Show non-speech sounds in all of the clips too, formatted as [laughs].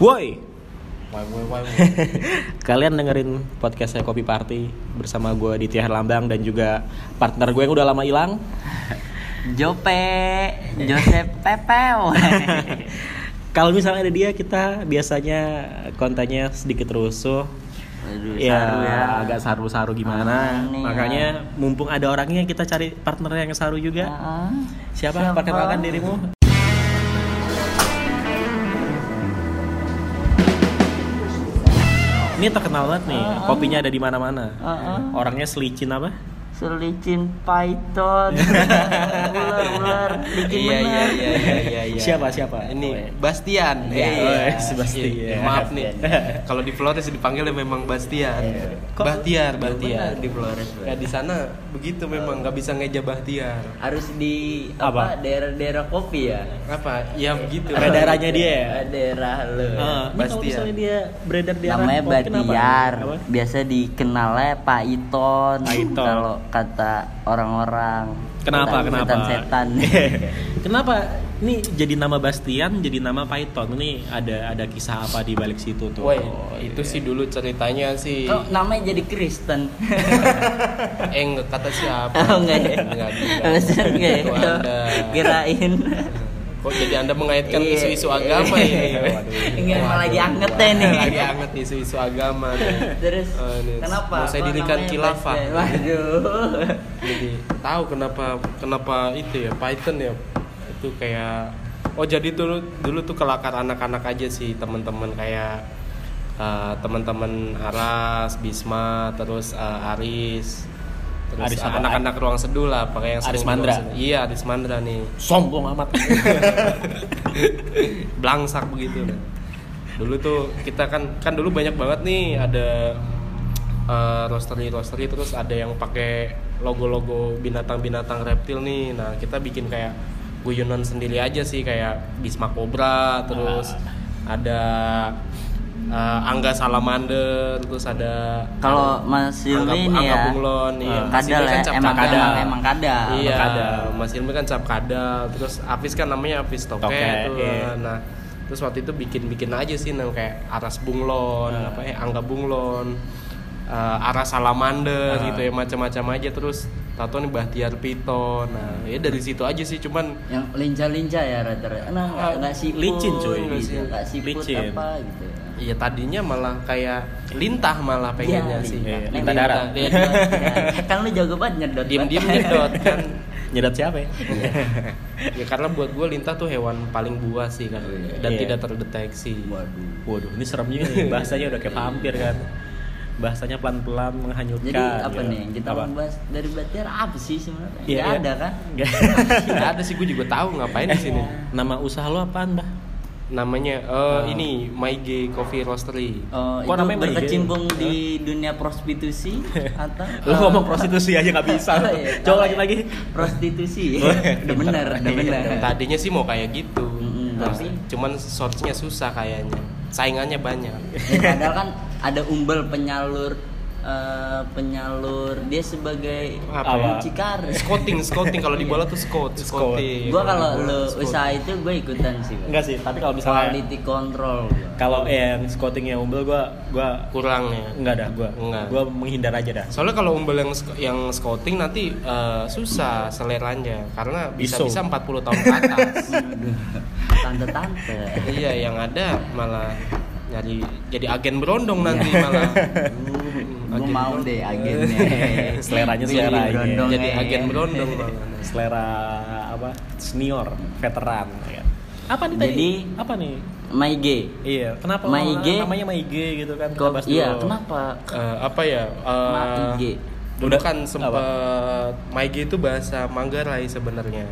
Woi, Wai, wai, wai. [laughs] kalian dengerin podcast saya Kopi Party bersama gue di Tiar Lambang dan juga partner gue yang udah lama hilang. Jope, Joseph [laughs] Pepeo. Kalau misalnya ada dia, kita biasanya kontennya sedikit rusuh. Aduh, ya, saru ya. agak saru-saru gimana. Ah, nih, Makanya mumpung ada orangnya kita cari partner yang saru juga. Heeh. Siapa? siapa? Perkenalkan dirimu. Ini terkenal banget nih, kopinya ada di mana-mana. Heeh. Orangnya selicin apa? Selicin [laughs] Python. Ular-ular [laughs] bikin Iya iya bener. iya iya iya, iya. Siapa siapa? Ini Bastian. Iya, Eh, oh, iya. si Bastian. Iya, [laughs] Iya. Maaf nih. Kalau di Flores dipanggilnya memang Bastian. Kok- Bahtiar, Bener, Bahtiar di Flores, Bro. Ya di sana begitu memang nggak bisa ngeja Bahtiar. Harus di Apa? apa? Daerah-daerah kopi ya. Eh, Apa? Ya begitu. Ada daerahnya dia ya? Daerah lu. Ah, ini kalau Bastian. misalnya dia beredar di arah namanya kopi, kenapa? Batiar Apa? biasa dikenalnya Pak Iton Pak Iton. kalau kata orang-orang Kenapa? Kata kenapa? setan-setan [laughs] kenapa? Ini jadi nama Bastian, jadi nama Python. Ini ada ada kisah apa di balik situ tuh? Woi, itu sih dulu ceritanya sih. kok namanya jadi Kristen Eh, nggak kata [laughs] siapa? oh enggak ya Nggak maksudnya enggak Itu ya Anda. kirain Kok jadi Anda mengaitkan Iya. isu-isu agama ini? Enggak, emang Iya, lagi Waduh, anget waduh, ya nih. Lagi anget isu-isu agama nih. [laughs] terus Eh, nih, kenapa Mau saya kok dirikan namanya khilafah. Batiar? waduh Jadi tahu kenapa kenapa itu ya Python ya itu kayak oh jadi dulu dulu tuh kelakar anak-anak aja sih teman-teman kayak eh, teman-teman Aras, Bisma, terus eh, Aris, terus Aris apa? anak-anak ruang seduh lah pakai yang Aris sering Mandra? ruang seduh. Iya Aris Mandra nih. Sombong amat. belangsak begitu dulu tuh kita kan kan dulu banyak banget nih ada eh, roastery roastery terus ada yang pakai logo-logo binatang-binatang reptil nih nah kita bikin kayak guyunan sendiri aja sih kayak bisma cobra terus ada eh, angga salamander terus ada kalau Mas Silvi Angga- ini Angga ya Bunglon, iya. eh, Mas kadal Silvi kan ya cap- emang cadal. emang emang kadal Iya, Kadal. Mas Ilmi kan cap kadal, terus Hafiz kan namanya Hafiz Toke, Toke, tuh. iya. Nah, terus waktu itu bikin-bikin aja sih nang kayak Aras Bunglon, Ah. apa ya Angga Bunglon, eh, Aras Salamander Ah. gitu ya macam-macam aja terus tato nih Bahtiar Piton. Nah, ya dari situ aja sih cuman yang lincah-lincah ya rata-rata nah nggak nggak siput Licin, cuy. gitu. nggak siput Licin. apa gitu ya. ya tadinya malah kayak lintah malah pengennya Iya, sih. lintah. Iya, Lintah lintah darah. Iya, [laughs] Ya, kan lu jago banget nyedot Diam-diam Bang. nyedot kan. [laughs] Nyedat siapa ya? [laughs] Ya karena buat gue lintah tuh hewan paling buas sih kan dan Iya. tidak terdeteksi. waduh Waduh, ini serem juga [laughs] nih. Bahasanya udah kayak vampir kan. Bahasanya pelan-pelan menghanyutkan. jadi apa gitu. nih yang kita [laughs] Apa? membahas dari Batiar apa sih sebenarnya Iya, nggak iya. ada kan Nggak. Nggak ada sih gue juga tahu ngapain di sini. Nama usaha lo apaan, Bah? Namanya eh, Ah. ini My Gay Coffee Roastery. Oh, Kok namanya itu Mary Jane? berkecimpung di dunia [laughs] prostitusi atau Lo ngomong prostitusi aja nggak bisa. [laughs] Oh, [laughs] iya. Coba lagi lagi. [laughs] prostitusi Oh, udah bener udah bener Tadinya sih mau kayak gitu, Eh. Mm-mm, Terus- tapi- cuman source-nya susah kayaknya. Saingannya banyak. Ya, padahal kan ada umbel penyalur eh, penyalur dia sebagai Apa? ya? Iya, mucikari Scouting, scouting kalau di bola tuh scout, Scout. scouting. gue kalau lu Scout. usaha itu gue ikutan sih Bang. Enggak sih, tapi kalau misalnya quality control [laughs] kalau yang scoutingnya umbel gua gua kurang ya. Enggak dah gua. Enggak. Gua menghindar aja dah. Soalnya kalau umbel yang sc- yang scouting nanti eh, susah seleranya karena bisa-bisa 40 tahun ke atas. tante-tante Iya, yang ada malah nyari jadi agen berondong nanti malah. [laughs] gue Agen mau berondong. deh agennya [laughs] Seleranya Pilih seleranya. berondong Jadi ya. agen berondong malah. Selera apa? Senior, veteran ya. Apa nih tadi? Jadi, apa nih? my gay Iya, kenapa Maige- namanya Maige gitu kan? Kita Kok- bahas iya dulu. kenapa Eh, apa ya? eh, Ma IG Dulu kan sempat Maige itu bahasa Manggarai sebenarnya.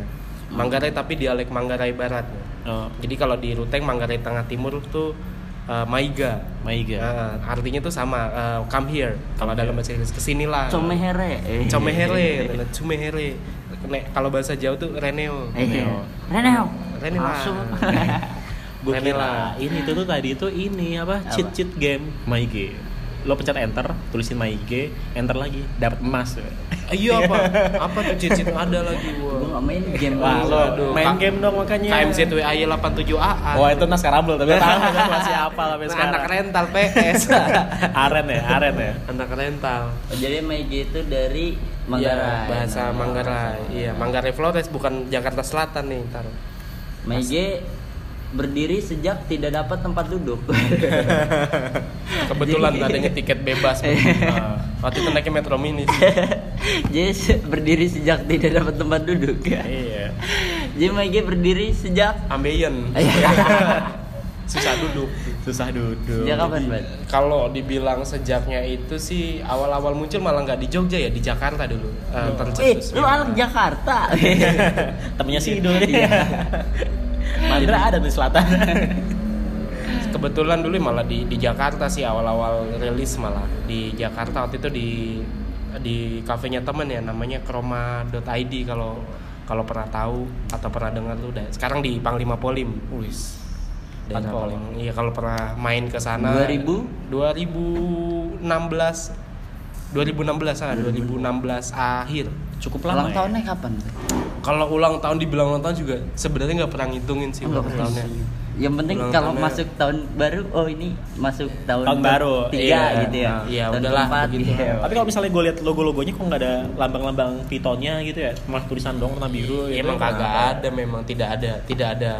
Manggarai tapi dialek Manggarai Barat. Oh, Jadi kalau di Ruteng Manggarai Tengah Timur tuh eh, Maiga. Maige. Eh, artinya tuh sama eh, come here kalau dalam bahasa Inggris kesinilah. comehere eh. Comehere, adalah cumehere. Nek, kalau bahasa Jawa tuh reneo. Eh, Reneo. Reneo Reneo. [laughs] Masuk. Gue Renela. kira ini tuh, tuh tadi itu ini apa? Apa? Cheat [laughs] cheat game Maige. Lo pencet enter, tulisin Maige, enter lagi, dapat emas. iya apa apa tuh cicit ada lagi Gue wah gak main game Wah, lagi. lo Aduh, main Kak. game dong makanya. KMZ WAY 87AA Iya. Wah, itu naskarabel [laughs] tapi tahu kan masih apa sampai Nah, sekarang. anak rental [laughs] PS [laughs] Aren ya, Aren ya. anak rental Jadi MIG itu dari Manggarai. Nah, Iya, bahasa Manggarai iya Manggarai Flores bukan Jakarta Selatan nih ntar MIG berdiri sejak tidak dapat tempat duduk. [laughs] kebetulan Jadi- adanya tiket bebas Bang. Iya. Nah, waktu itu naiknya Metro Mini sih. [laughs] Jadi se- berdiri sejak tidak dapat tempat duduk. Iya. Jadi MIG berdiri [laughs] sejak ambeien Eh. susah duduk Iya, Susah duduk. sejak kapan, Bang? kalau dibilang sejaknya itu sih awal-awal muncul malah nggak di Jogja ya di Jakarta dulu Eh, Eh, tercetus. lu anak Jakarta. Temennya sih dulu dia. Mandra ada di selatan. kebetulan dulu malah di di Jakarta sih awal-awal rilis malah di Jakarta waktu itu di di kafenya temen ya namanya kroma.id kalau kalau pernah tahu atau pernah dengar tuh udah sekarang di Panglima Polim wis Panglima Panglima iya kalau pernah main ke sana 2000? 2016 2016 ah 2016 akhir Cukup lama. [laughs] Ulang ya? tahunnya kapan? Bang? kalau ulang tahun dibilang ulang tahun juga sebenarnya Oh, nggak pernah ngitungin sih Enggak ulang pernah. tahunnya Yang penting Ulang kalau tahunnya. masuk tahun baru, oh ini masuk tahun, Tahun baru, tiga iya. gitu ya. Iya, tahun udahlah, keempat, begitu. gitu. Tapi kalau misalnya gue lihat logo-logonya kok nggak ada lambang-lambang pitonnya gitu ya, malah tulisan dong warna biru. Gitu. Iya, emang kagak ada memang tidak ada tidak ada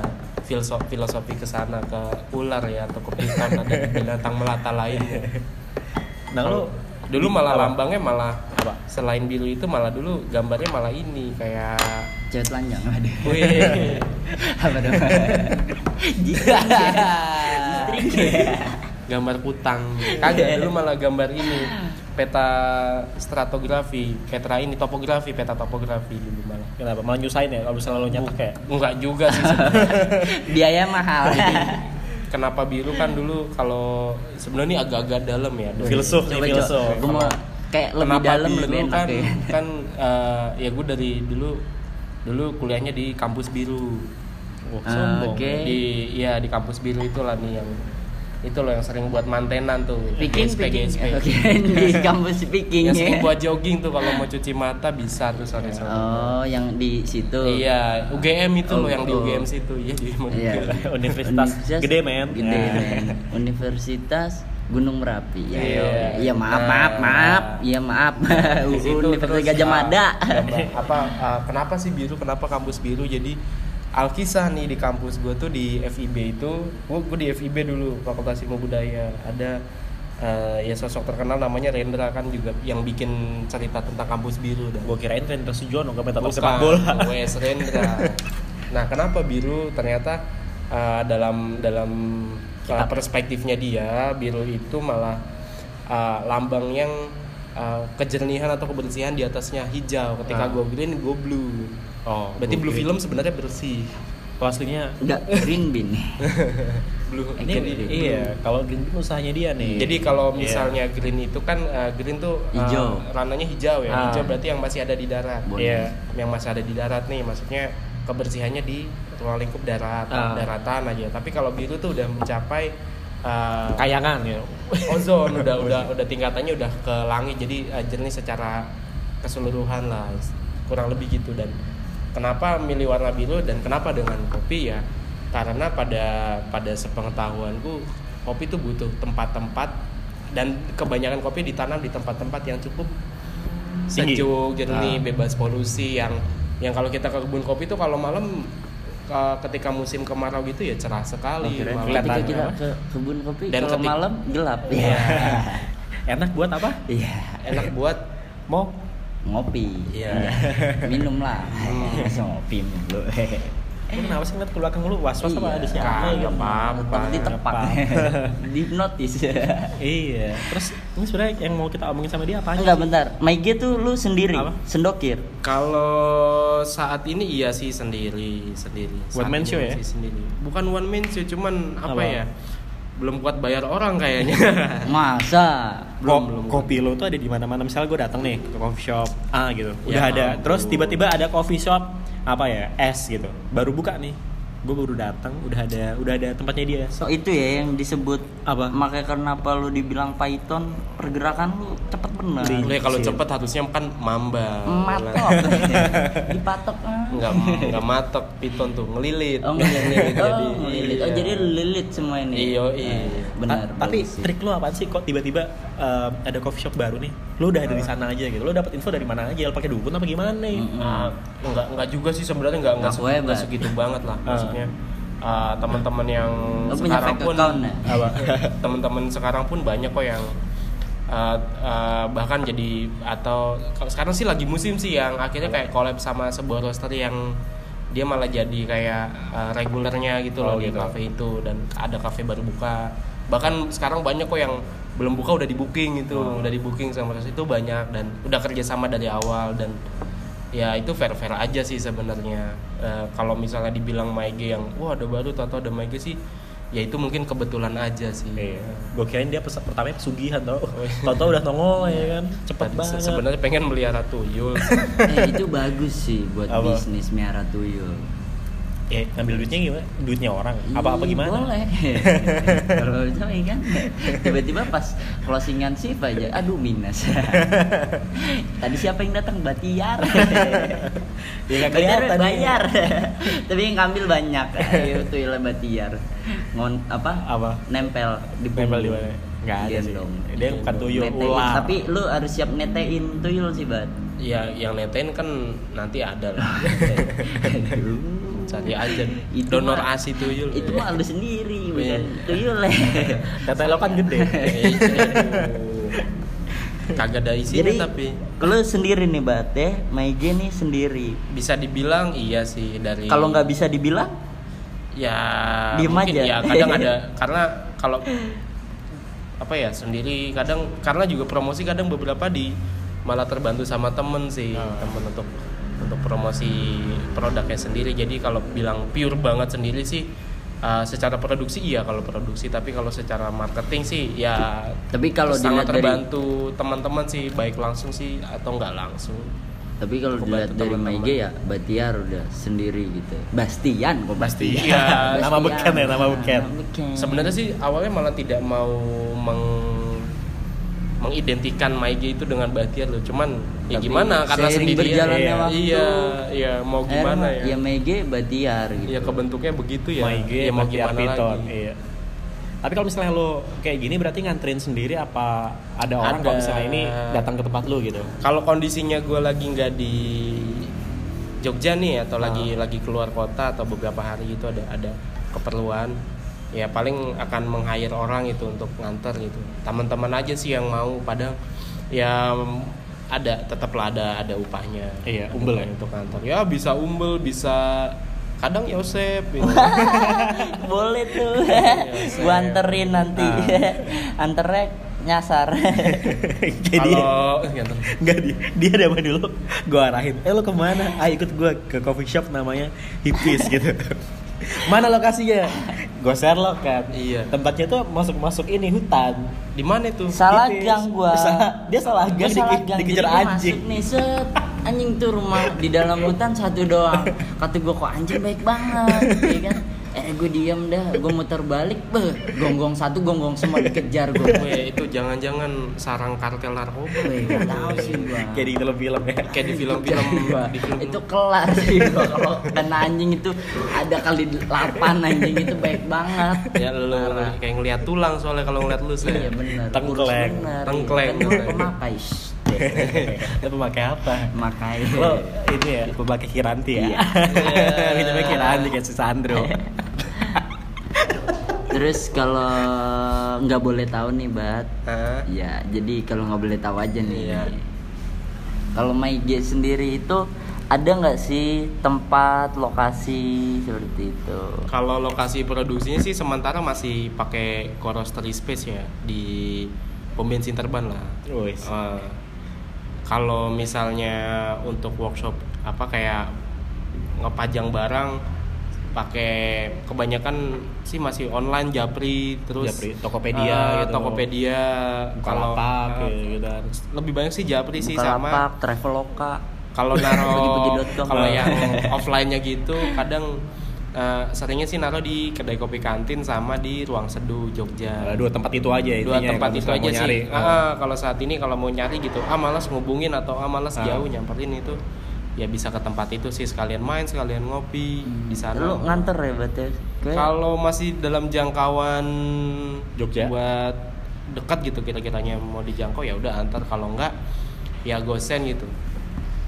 filosofi filosofi ke sana ke ular ya atau ke piton atau ke binatang melata lainnya. Nah lu Dulu malah Apa? lambangnya malah Apa? selain biru itu malah dulu gambarnya malah ini kayak Cewek telanjang ada. Wih. Apa dong? Jistrik ya. Jistrik ya. gambar kutang. Kagak dulu malah gambar ini peta stratografi, peta ini topografi, peta topografi dulu malah. kenapa? Malah nyusahin ya kalau misalnya lo nyetak ya. Enggak juga sih. sebenarnya. Biaya mahal. [laughs] Kenapa biru kan dulu kalau sebenarnya ini agak-agak dalam ya. dulu. Filsuf nih, coba coba. filsuf. [laughs] Gua mau kayak lebih Kenapa dalam biru lebih enak kan, ya. [laughs] kan eh, ya gue dari dulu dulu kuliahnya di kampus biru Wah, Ah, sombong. oke. di ya di kampus biru itulah nih yang itu loh yang sering buat mantenan tuh Picking, GSP, picking. GSP. [laughs] Oke, di kampus picking yang ya. sering buat jogging tuh kalau mau cuci mata bisa tuh sore sore Oh, yang di situ. iya UGM itu Oh, loh yang di oh. UGM situ iya di Iya. UGM. Universitas gede, men. Gede Ya. men. Universitas Gunung Merapi. Ya. Iya. Iya, maaf, Nah. maaf, maaf. Iya, maaf. [laughs] Di situ Universitas terus, Gajah ah, [laughs] Mada. [laughs] gambar- apa ah, kenapa sih biru? Kenapa kampus biru? Jadi Alkisah nih di kampus gue tuh di FIB itu, gue di FIB dulu Fakultas Ilmu Budaya ada eh, ya sosok terkenal namanya Rendra kan juga yang bikin cerita tentang kampus biru dan Gue kirain Rendra Sujono gak main Bukan, sepak [laughs] bola. WS Rendra. nah, kenapa biru? Ternyata uh, dalam dalam uh, perspektifnya dia, biru itu malah uh, lambang yang uh, kejernihan atau kebersihan di atasnya hijau. Ah. Ketika gue green, gue blue. Oh, Berarti blue oke. film sebenarnya bersih. Oh, aslinya Enggak green bin. Iya, Blue. Eh, ini jadi green. iya, kalau Green Bean usahanya dia nih. Jadi kalau Iya. misalnya green itu kan uh, green tuh uh, Hijau. rananya hijau ya. Ah. Hijau berarti yang masih ada di darat. Boleh. Iya, yang masih ada di darat nih maksudnya kebersihannya di ruang lingkup darat, Ah. daratan aja. Tapi kalau biru tuh udah mencapai uh, kayangan ya. ozon [laughs] udah udah udah tingkatannya udah ke langit jadi uh, jernih secara keseluruhan lah kurang lebih gitu dan kenapa milih warna biru dan kenapa dengan kopi ya karena pada pada sepengetahuanku kopi itu butuh tempat-tempat dan kebanyakan kopi ditanam di tempat-tempat yang cukup Tinggi. sejuk jernih Ah. bebas polusi yang yang kalau kita ke kebun kopi itu kalau malam uh, ketika musim kemarau gitu ya cerah sekali Oke, ya. malam. Ketika Kelihatannya. kita ke kebun kopi ya. Dan kalau ketik- malam gelap ya. Iya. Enak buat apa? Iya. [laughs] enak buat Mau Ngopi. Iya. Enggak. Minum lah. Masih ngopi dulu. lu kenapa sih ngeliat ke belakang lu was-was apa Iya. ada siapa? Kagak gitu? apa-apa. Tetap [laughs] [laughs] ditepak. Di notis. Iya. Terus ini sebenarnya yang mau kita omongin sama dia apa? Enggak bentar. Maige tuh lu sendiri, Apa? sendokir. Kalau saat ini iya sih sendiri, sendiri. One Saat man ini show ya? masih Sendiri. Bukan one man show, cuman apa, Apa? ya? Belum kuat bayar orang kayaknya. [laughs] Masa? Belum, Kopi lo tuh ada di mana-mana. Misalnya gue datang nih ke coffee shop A gitu. Udah Ya ada. ampun. Terus tiba-tiba ada coffee shop apa ya? S gitu. Baru buka nih. gue baru datang udah ada udah ada tempatnya dia So itu ya yang disebut Apa? Makanya kenapa lu dibilang Python pergerakan lu cepet bener. Di- Lu ya kalau Sip. cepet harusnya kan mamba. Matok. [laughs] Dipatok. ah. Oh, Enggak enggak matok piton tuh, [laughs] ngelilit. iya. Oh ngelilit. Jadi- Oh ngelilit. Oh jadi lilit semua ini. Iya, iya. Eh, Benar. Ta- tapi bagus sih. trik lu apaan sih kok tiba-tiba um, ada coffee shop baru nih lu udah ada di sana aja gitu lu dapat info dari mana aja lu pakai dukun apa gimana nih Ah, enggak enggak juga sih sebenarnya enggak enggak, Ngaku segi- hebat. enggak segitu banget lah maksudnya. ah, teman-teman yang Lu punya sekarang fake pun account [laughs] ya? apa teman-teman sekarang pun banyak kok yang uh, uh, bahkan jadi atau kalau sekarang sih lagi musim sih yang akhirnya kayak collab sama sebuah roastery yang dia malah jadi kayak uh, regulernya gitu Oh, loh di gitu. cafe itu dan ada cafe baru buka bahkan sekarang banyak kok yang belum buka udah di booking gitu Hmm. udah di booking sama roastery itu banyak dan udah kerjasama dari awal dan ya itu fair fair aja sih sebenarnya Eh, kalau misalnya dibilang Maige yang wah ada baru atau ada Maige sih ya itu mungkin kebetulan aja sih Iya. gue kirain dia pes- pertamanya pesugihan tau tau udah nongol ya kan cepet Tadi se- banget sebenarnya pengen melihara tuyul [laughs] Eh, itu bagus sih buat Apa? bisnis miara tuyul. ya, ngambil duitnya gimana duitnya orang apa apa Ih, gimana [laughs] Iya, Boleh. Kalau bisa mah kan tiba-tiba pas closingan sih aja [laughs] aduh minus. Tadi siapa yang datang Batiar. Ya, Iya, nggak kelihatan. bayar. [laughs] Tapi yang ngambil banyak. Ayo tuyul Batiar. Ngon apa? Apa? Nempel di Nempel di punggung. mana? Nggak ada sih. Gendong. Dia bukan tuyul, Netein. ular. Tapi lu harus siap netein tuyul sih, [laughs] Bat. ya yang netain kan nanti ada [laughs] lah Aduh. cari aja Itu donor mah- asi tuyul itu mah lu sendiri bukan Iya. tuyul [laughs] ya kata lo kan [laughs] gede Eh, aduh. kagak ada jadi isinya tapi lu sendiri nih bat ya Maige nih sendiri bisa dibilang iya sih dari kalau nggak bisa dibilang ya Diem mungkin aja. ya kadang ada [laughs] karena kalau apa ya sendiri kadang karena juga promosi kadang beberapa di malah terbantu sama temen sih Ah. temen untuk untuk promosi produknya sendiri jadi kalau bilang pure banget sendiri sih uh, secara produksi iya kalau produksi tapi kalau secara marketing sih ya tapi kalau sangat dilihat dari terbantu teman-teman sih baik langsung sih atau nggak langsung tapi kalau Kebantu dilihat dari teman-teman. Maige ya Batiar udah sendiri gitu Bastian kok Bastian [laughs] Iya, nama beken ya, nama beken. Hmm. Sebenarnya sih awalnya malah tidak mau meng- mengidentikan Maige itu dengan Bahtiar loh. Cuman ya Tapi gimana karena seiring sendirian. berjalannya iya, waktu. iya, iya, mau gimana ya ya? Maige Batiar gitu Ya kebentuknya begitu ya. Maige, ya mau Maki gimana Arpiton, lagi? Iya. Tapi kalau misalnya lo kayak gini berarti nganterin sendiri apa ada orang Ada. kalau misalnya ini datang ke tempat lo gitu? Kalau kondisinya gue lagi nggak di Jogja nih ya, atau lagi Ah. lagi keluar kota atau beberapa hari itu ada ada keperluan ya paling akan meng hire orang itu untuk nganter gitu teman-teman aja sih yang mau padahal ya ada tetaplah ada ada upahnya Iya, Ada umbel upahnya ya? untuk nganter ya bisa umbel bisa kadang Yosep gitu. [laughs] boleh tuh Iya, Ah. gua anterin nanti [laughs] anternya nyasar [laughs] Jadi kalau nganter. nggak dia, dia ada apa dulu? Gue arahin. Eh lo kemana? Ah ikut gue ke coffee shop namanya Hippies [laughs] gitu. Mana lokasinya? Gue share lo kan. Iya. Tempatnya tuh masuk masuk ini hutan. di mana itu salah Hippies. gang Gitu gua ya. Salah- dia salah Gua gang, salah dike- gang, dikejar jadi gua anjing. masuk nih set anjing tuh rumah di dalam hutan satu doang kata gua kok anjing baik banget ya kan eh gua diam dah gua muter balik beh gonggong satu gonggong semua dikejar gua Weh, itu jangan-jangan sarang kartel narkoba Weh, nggak tahu sih gua Kayak di film-film ya. kayak di film-film Gua, di film itu kelar sih gua kalau kena anjing itu ada kali 8 anjing itu baik banget ya lu Parah. kayak ngeliat tulang soalnya kalau ngeliat iya lu saya benar Tengkleng. Tengkleng. Iya, pemakai shh. Lo pemakai apa? makai Lo ini ya pemakai kiranti ya. [laughs] Iya. Kita pakai kiranti kayak si Sandro. Terus kalau nggak boleh tahu nih, Bat. Hah? Ya, jadi kalau nggak boleh tahu aja nih. Iya. Kalau Maige sendiri itu ada nggak sih tempat lokasi seperti itu? kalau lokasi produksinya sih sementara masih pakai Korostery Space ya di pom bensin Terban lah Wes. Eh, kalau misalnya untuk workshop apa kayak ngepajang barang pakai kebanyakan sih masih online Japri terus Japri, Tokopedia eh, gitu. Tokopedia kalau Bukalapak, ya eh, gitu kan. lebih banyak sih Japri sih sama Bukalapak, Traveloka. kalau naro [laughs] Pergi-pergi.com. kalau yang offline-nya gitu kadang eh, seringnya sih naruh di kedai kopi kantin sama di ruang seduh Jogja. Eh, dua tempat itu aja Dua intinya ya, tempat kalau itu misalnya aja mau sih. nyari. Ah, ah, kalau saat ini kalau mau nyari gitu, ah malas ngubungin atau ah malas Ah. jauh nyamperin itu ya bisa ke tempat itu sih sekalian main, sekalian ngopi Hmm. di sana. Lu nganter ya berarti. Gue- Kalau masih dalam jangkauan Jogja? buat dekat gitu kira-kiranya mau dijangkau ya udah antar kalau enggak ya gosen gitu.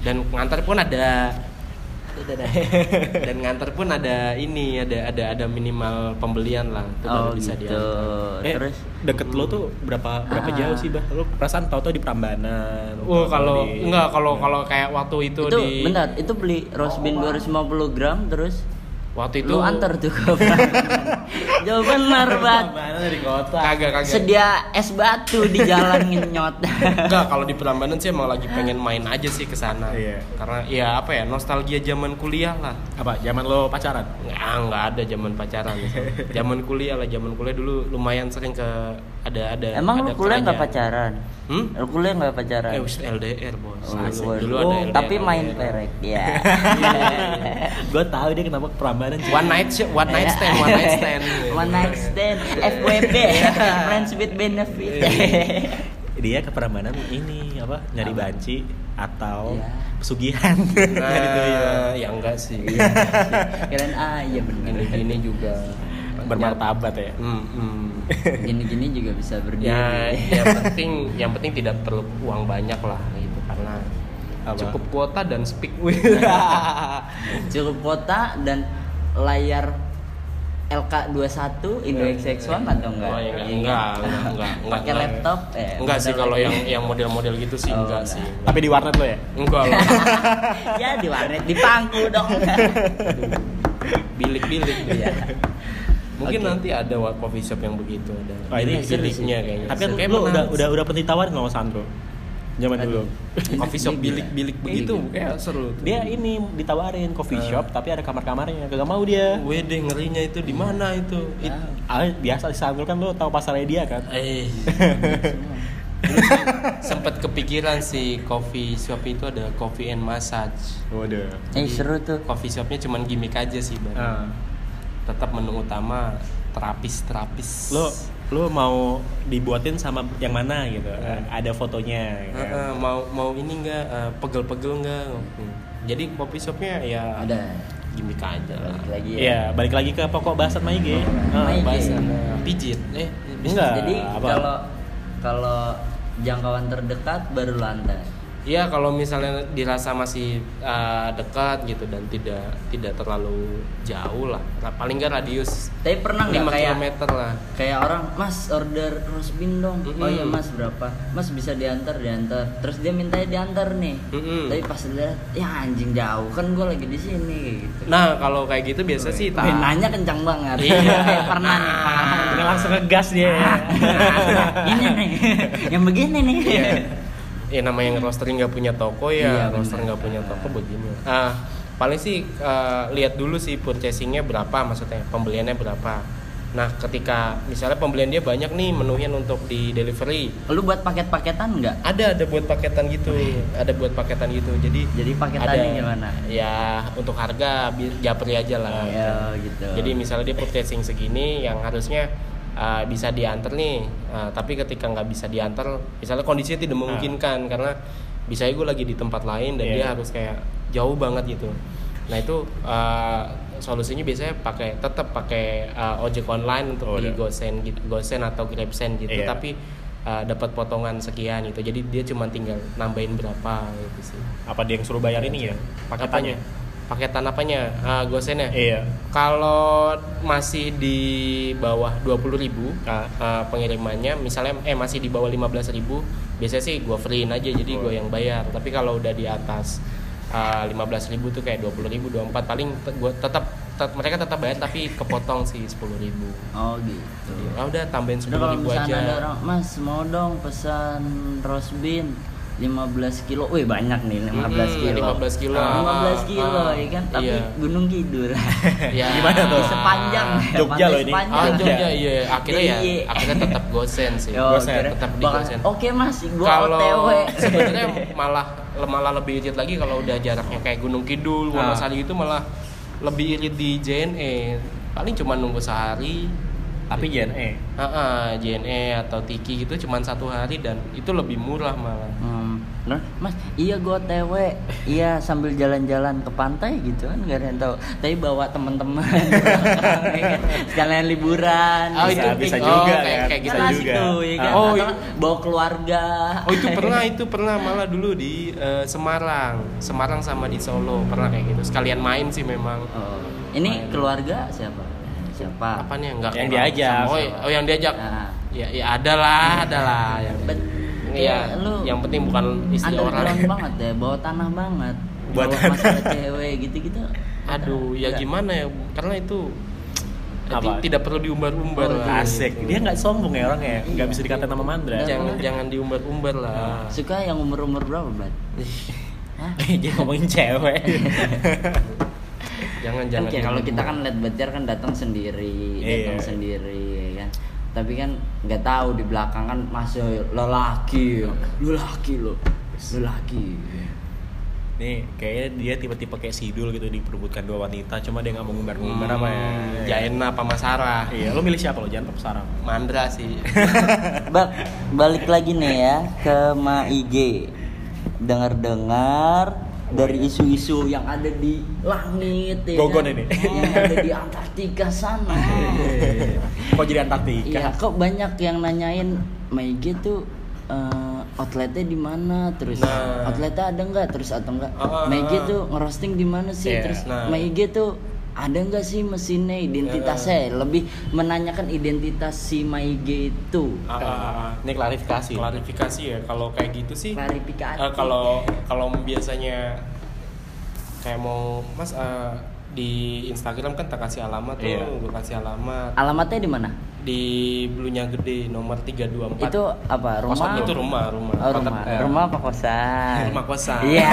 Dan ngantar pun ada dan ngantar pun ada ini ada ada ada minimal pembelian lah itu baru Oh bisa gitu. diantar. Eh, Terus deket lo tuh berapa berapa Ah. jauh sih bah? Lo perasaan tau tau di Prambanan? Oh kalau di- Iya. enggak kalau kalau kayak waktu itu, Iya. itu di bentar, itu beli roast bean 250 gram terus waktu itu lu antar tuh ke [laughs] Prambanan. Jawaban marbat. Prambanan dari kota. kagak kagak Sedia es batu di jalan [laughs] nyot. Enggak, kalau di Prambanan sih emang lagi pengen main aja sih ke sana. Iya. Karena ya apa ya, nostalgia zaman kuliah lah. Apa? Zaman lo pacaran? Nggak, Ya, nggak ada zaman pacaran. zaman kuliah lah, zaman kuliah dulu lumayan sering ke ada ada [laughs] Emang ada lu kuliah nggak kerajaan. pacaran? Hmm? Lu kuliah nggak pacaran? Eh, wis LDR, Bos. Oh, Dulu, waduh. dulu ada Oh, LDR. tapi main perek [laughs] ya. [laughs] [laughs] Gue tahu dia kenapa ke Prambanan. cuy. Eh. One night sh- one [laughs] night stand, one night stand. One night stand, [laughs] FWB, friends with benefit. Iya. Dia ke Prambanan ini apa? Nyari Apa? banci atau Iya. pesugihan. Nyari Gitu, tuh, iya. Nah, ya enggak sih. [laughs] Keren aja bener. Gini-gini juga. Bermartabat ya. Hmm, hmm. Gini-gini juga bisa berdiri. ya Iya. yang penting yang penting tidak perlu uang banyak lah gitu karena Apa? cukup kuota dan speak [laughs] Cukup kota dan layar LK21 Indo XX1 atau enggak? Oh, iya, enggak enggak enggak enggak [laughs] Pakai enggak. laptop, eh, enggak sih model kalau lagi. yang yang model-model gitu sih Oh, enggak, enggak. sih Tapi di warnet lo ya? enggak [laughs] lah ya di warnet di pangku dong. bilik-bilik Iya. mungkin Oke. nanti ada wa- coffee shop yang begitu ada Wah, ini bilik- serius biliknya sih. kayaknya Tapi kan Iya, Kayak lo menarik udah sih. udah udah pernah ditawarin nggak sama Sandro? Zaman dulu. [laughs] coffee shop Ini gila. bilik-bilik Ini begitu gila. kayak seru tuh. Dia ini ditawarin coffee Eh. shop tapi ada kamar-kamarnya. Kagak mau dia. Iya. Wede ngerinya itu di mana itu? It- Wow. Ah, biasa di Sandro kan lo tahu pasarnya dia kan. Iya, [laughs] Eh, sempat kepikiran sih coffee shop itu ada coffee and massage. Waduh. Eh seru tuh. Coffee shopnya cuman gimmick aja sih, bang. Ah. Tetap menu utama terapis terapis. lo lo mau dibuatin sama yang mana gitu ada fotonya gitu. Ah, mau mau ini enggak pegel-pegel enggak? Jadi coffee shopnya ya Ada gimmick aja lah. balik lagi Iya. ya. ya balik lagi ke pokok bahasan Maige Maige. Bahasa pijit. Eh, Enggak. Jadi apa? kalau kalau jangkauan terdekat baru lantai. Iya kalau misalnya dirasa masih eh, dekat gitu dan tidak tidak terlalu jauh lah. Nah, paling nggak radius Tapi pernah 5 nggak kayak km lah. kayak orang Mas order roast bean dong. Mm-mm. Oh iya Mas berapa? Mas bisa diantar diantar. Terus dia mintanya diantar nih. Mm-mm. Tapi pas lihat ya anjing jauh kan gue lagi di sini kayak gitu. Nah kalau kayak gitu biasa sih tak. Penanya nanya kencang banget. Iya. [laughs] Kayak pernah nih. Pak. Udah langsung ngegas dia [laughs] ya. Ah. ini nih [laughs] yang begini nih Iya. Ya namanya yang roster nggak punya toko Iya, ya. benar. Iya. roster nggak punya toko begini. Ah paling sih eh, lihat dulu sih purchasingnya berapa maksudnya pembeliannya berapa. Nah ketika misalnya pembelian dia banyak nih menuhin untuk di delivery. lu buat paket-paketan nggak Ada ada buat paketan gitu. Ada buat paketan gitu. Jadi jadi paketannya gimana Ya untuk harga bi- japri aja lah. ya gitu Jadi misalnya dia purchasing segini yang harusnya uh, bisa diantar nih, uh, tapi ketika nggak bisa diantar, misalnya Ah. kondisinya tidak memungkinkan karena bisa gue lagi di tempat lain dan Iya. dia harus kayak jauh banget gitu. Nah itu uh, solusinya biasanya pakai tetap pakai uh, ojek online untuk Oh, di iya. gosen gitu, gosen atau grabsen gitu, Iya. tapi uh, dapat potongan sekian gitu. Jadi dia cuma tinggal nambahin berapa gitu sih. apa dia yang suruh bayar ini ya paketannya Apanya? Paketan apanya? Uh, gosennya? iya Kalau masih di bawah 20.000 Ah. eh, pengirimannya misalnya eh masih di bawah 15.000 biasanya sih gua free-in aja jadi gua yang bayar. Tapi kalau udah di atas eh, 15.000 tuh kayak 20.000 24 paling te- gua tetap tet- mereka tetap bayar tapi kepotong sih 10.000. oh gitu Ah, udah tambahin udah kalau 10.000 misalnya aja. ada orang mas mau dong pesan roast bean 15 kilo, wih banyak nih 15 Mm-mm, kilo 15 Hmm, kilo. 15 kilo, Ah, ya kan? Tapi iya. Gunung Kidul [laughs] Ya. Gimana tuh? Sepanjang Jogja loh ini. Ah, Jogja. Jogja, iya. Akhirnya ya, Iya. akhirnya tetap gosen sih. Yo, Gosen, kira- tetap di bakal, Oh, gosen. Oke mas, gua [laughs] kalau OTW sebenarnya malah malah lebih irit lagi kalau udah jaraknya kayak Gunung Kidul, Nah. Wonosari itu malah lebih irit di JNE paling cuma nunggu sehari Tapi E. JNE. Heeh, JNE atau Tiki gitu cuma satu hari dan itu lebih murah malah Hmm, bener? Mas, iya gue TW, iya sambil jalan-jalan ke pantai gitu kan nggak ada yang tahu. Tapi bawa teman-teman, [laughs] jalan liburan. Oh, Bisa- itu bisa pik- juga oh, kayak- kan. kayak Kan gitu Bisa asik juga. Ah. tuh, ya kan? Oh, Atau iya. kan bawa keluarga. Oh itu iya. pernah, itu pernah malah dulu di eh, Semarang, Semarang sama di Solo pernah kayak gitu. Sekalian main sih memang. [laughs] Oh, ini Main. keluarga siapa? Siapa? Apa nih enggak? Ah. Yang diajak. Ah. Oh, iya. oh yang diajak. Nah. Ya, ya ada lah, ada lah. Hmm. Yang, Bet- Iya, iya, lu yang penting bukan istri orang. Underground banget deh, bawa tanah banget. Buat bawa masalah cewek gitu-gitu. [laughs] Aduh, ya Enggak. gimana ya? Karena itu Apa? eh, ti- tidak perlu diumbar-umbar. Oh, lah. Gitu. Asik. Dia nggak sombong ya orangnya. Nggak bisa dikatain nama Mandra. Iya. Jangan jangan diumbar-umbar lah. Suka yang umur-umur berapa, [laughs] Brat? Hah? [laughs] Dia ngomongin cewek. [laughs] kan Jangan jangan. kayak kalau kita kan diumbar-umbar. lihat Badjar kan datang sendiri, datang Iya. sendiri ya kan. Tapi kan nggak tahu di belakang kan masih lelaki, lelaki lo, lelaki. Iya. Nih, kayaknya dia tipe-tipe kayak Sidul gitu diperbutkan dua wanita, cuma dia nggak mau ngumbar-ngumbar Hmm, apa ya. Jaena apa Mas Sarah? Iya, lo milih siapa lo? Jangan top sarang. Mandra [laughs] sih. Bak, balik lagi nih ya ke MAIG. Dengar-dengar dari isu-isu yang ada di langit ya Oh, iya. Gogon kan? ini. Yang ada di Antartika sana. Iya. Kok jadi Antartika? Iya, kok banyak yang nanyain MAIG tuh eh, outletnya di mana terus Nah. outletnya ada nggak terus atau enggak Ah. MAIG tuh ngerosting di mana sih Iya, terus nah. MAIG tuh ada nggak sih mesinnya identitasnya Iya. lebih menanyakan identitas si MAIG itu Ah, ah, ah. Ini klarifikasi. klarifikasi ya kalau kayak gitu sih Klarifikasi. eh, kalau kalau biasanya kayak mau mas eh, di Instagram kan tak kasih alamat tuh Iya. gue kasih alamat alamatnya di mana di Blunya Gede nomor 324 itu apa rumah Kosan itu rumah rumah Oh, rumah Kontak- eh, rumah apa kosan Rumah kosan. iya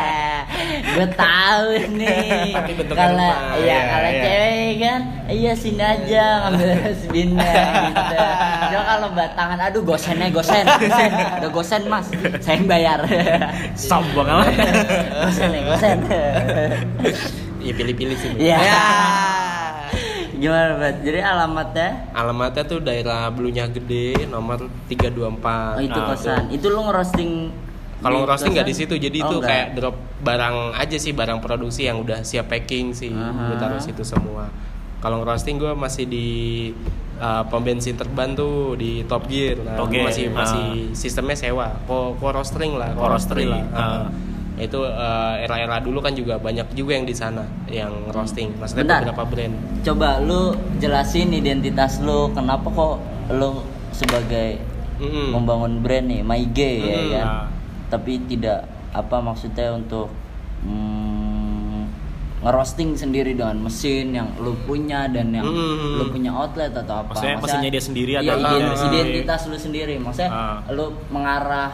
[laughs] gue tahu nih Tapi bentuknya kalau rumah. iya Iya, kalau iya. cewek kan iya sini aja [laughs] ngambil sebinnya gitu Cuma kalau batangan aduh gosennya gosen gosen udah gosen mas saya yang [laughs] bayar Sombong amat. gosen gosen [laughs] Iya, pilih-pilih sih Mbak. iya gimana Bat? jadi alamatnya alamatnya tuh daerah Blunya Gede nomor 324 Oh, itu Nah, kosan. Itu lu ngerosting Kalau di roasting nggak di kosan? situ, jadi Oh, itu nggak. kayak drop barang aja sih, barang produksi yang udah siap packing sih, Aha. gue taruh situ semua. Kalau roasting gue masih di uh, pom bensin terban tuh di Top Gear, nah, Oke, masih ah. masih sistemnya sewa, ko ko roastering lah, Ko ko roastery roastery, lah. ah. Ah. Itu uh, era-era dulu kan juga banyak juga yang di sana yang roasting, maksudnya Bentar. beberapa brand. Coba lu jelasin identitas lu, kenapa kok lu sebagai Mm-mm. membangun brand nih, MyG ya Mm, kan? Hmm. nah. Tapi tidak apa maksudnya untuk mm, ngerosting sendiri dengan mesin yang lu punya dan yang Mm. lu punya outlet atau apa? Hmm. Maksudnya mesinnya dia sendiri Iya, atau Hmm. apa? ident- Ah. identitas lu sendiri. Maksudnya Ah. lu mengarah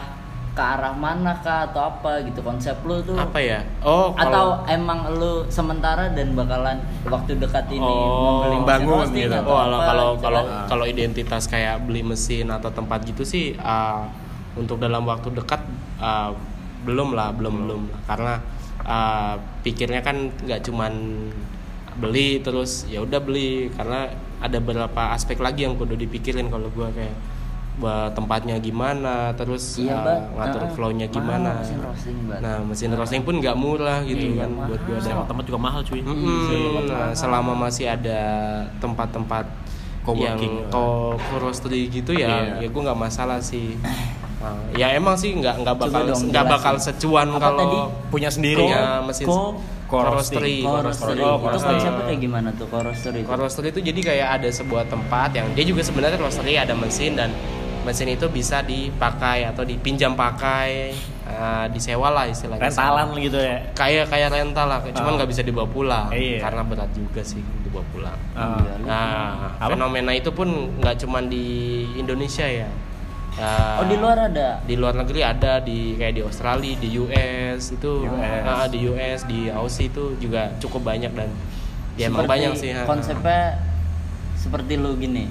ke arah mana kah atau apa gitu konsep lu tuh? Apa ya? Oh, atau kalau emang lu sementara dan bakalan waktu dekat ini membeli mesin Oh, bangun roasting gitu. atau Oh, kalau apa, kalau gitu kalau kan? kalau identitas kayak beli mesin atau tempat gitu sih uh, untuk dalam waktu dekat uh, belum lah, belum belum lah. Karena uh, pikirnya kan nggak cuman beli terus ya udah beli karena ada beberapa aspek lagi yang kudu dipikirin kalau gua kayak bah, tempatnya gimana terus Iya, uh, Mbak. ngatur Heeh. flow-nya Mahal gimana. mesin roasting, Mbak. nah, mesin roasting pun nggak murah gitu Iya, kan buat gua mahal. dan Sewa tempat juga mahal cuy. Mm-mm. Nah, selama masih ada tempat-tempat Co-working. yang ko roastery gitu ya, Iya. ya gue nggak masalah sih. Nah, ya emang sih nggak nggak Coba bakal dong nggak jelasin. bakal secuan Apa tadi? kalau Punya sendiri punya ya, mesin Ko- ko ko roasting. roastery. Ko Kalau roastery. roastery, Oh, itu kan roastery. konsepnya kayak gimana tuh kalau roastery itu? Kalau roastery itu jadi kayak ada sebuah tempat yang dia juga sebenarnya roastery ada mesin dan mesin itu bisa dipakai atau dipinjam pakai, eh, disewa lah istilahnya. Rentalan gitu ya. Kayak kayak rental lah, cuman Ah. nggak bisa dibawa pulang Iya. karena berat juga sih dibawa pulang. Ah. Iya, lu- Nah, Apa? fenomena itu pun nggak cuma di Indonesia ya. oh Ya, di luar ada di luar negeri ada di kayak di Australia, di US itu, US. Ah, di US, di Aussie itu juga cukup banyak dan ya emang Seperti banyak sih. ha. konsepnya seperti lu gini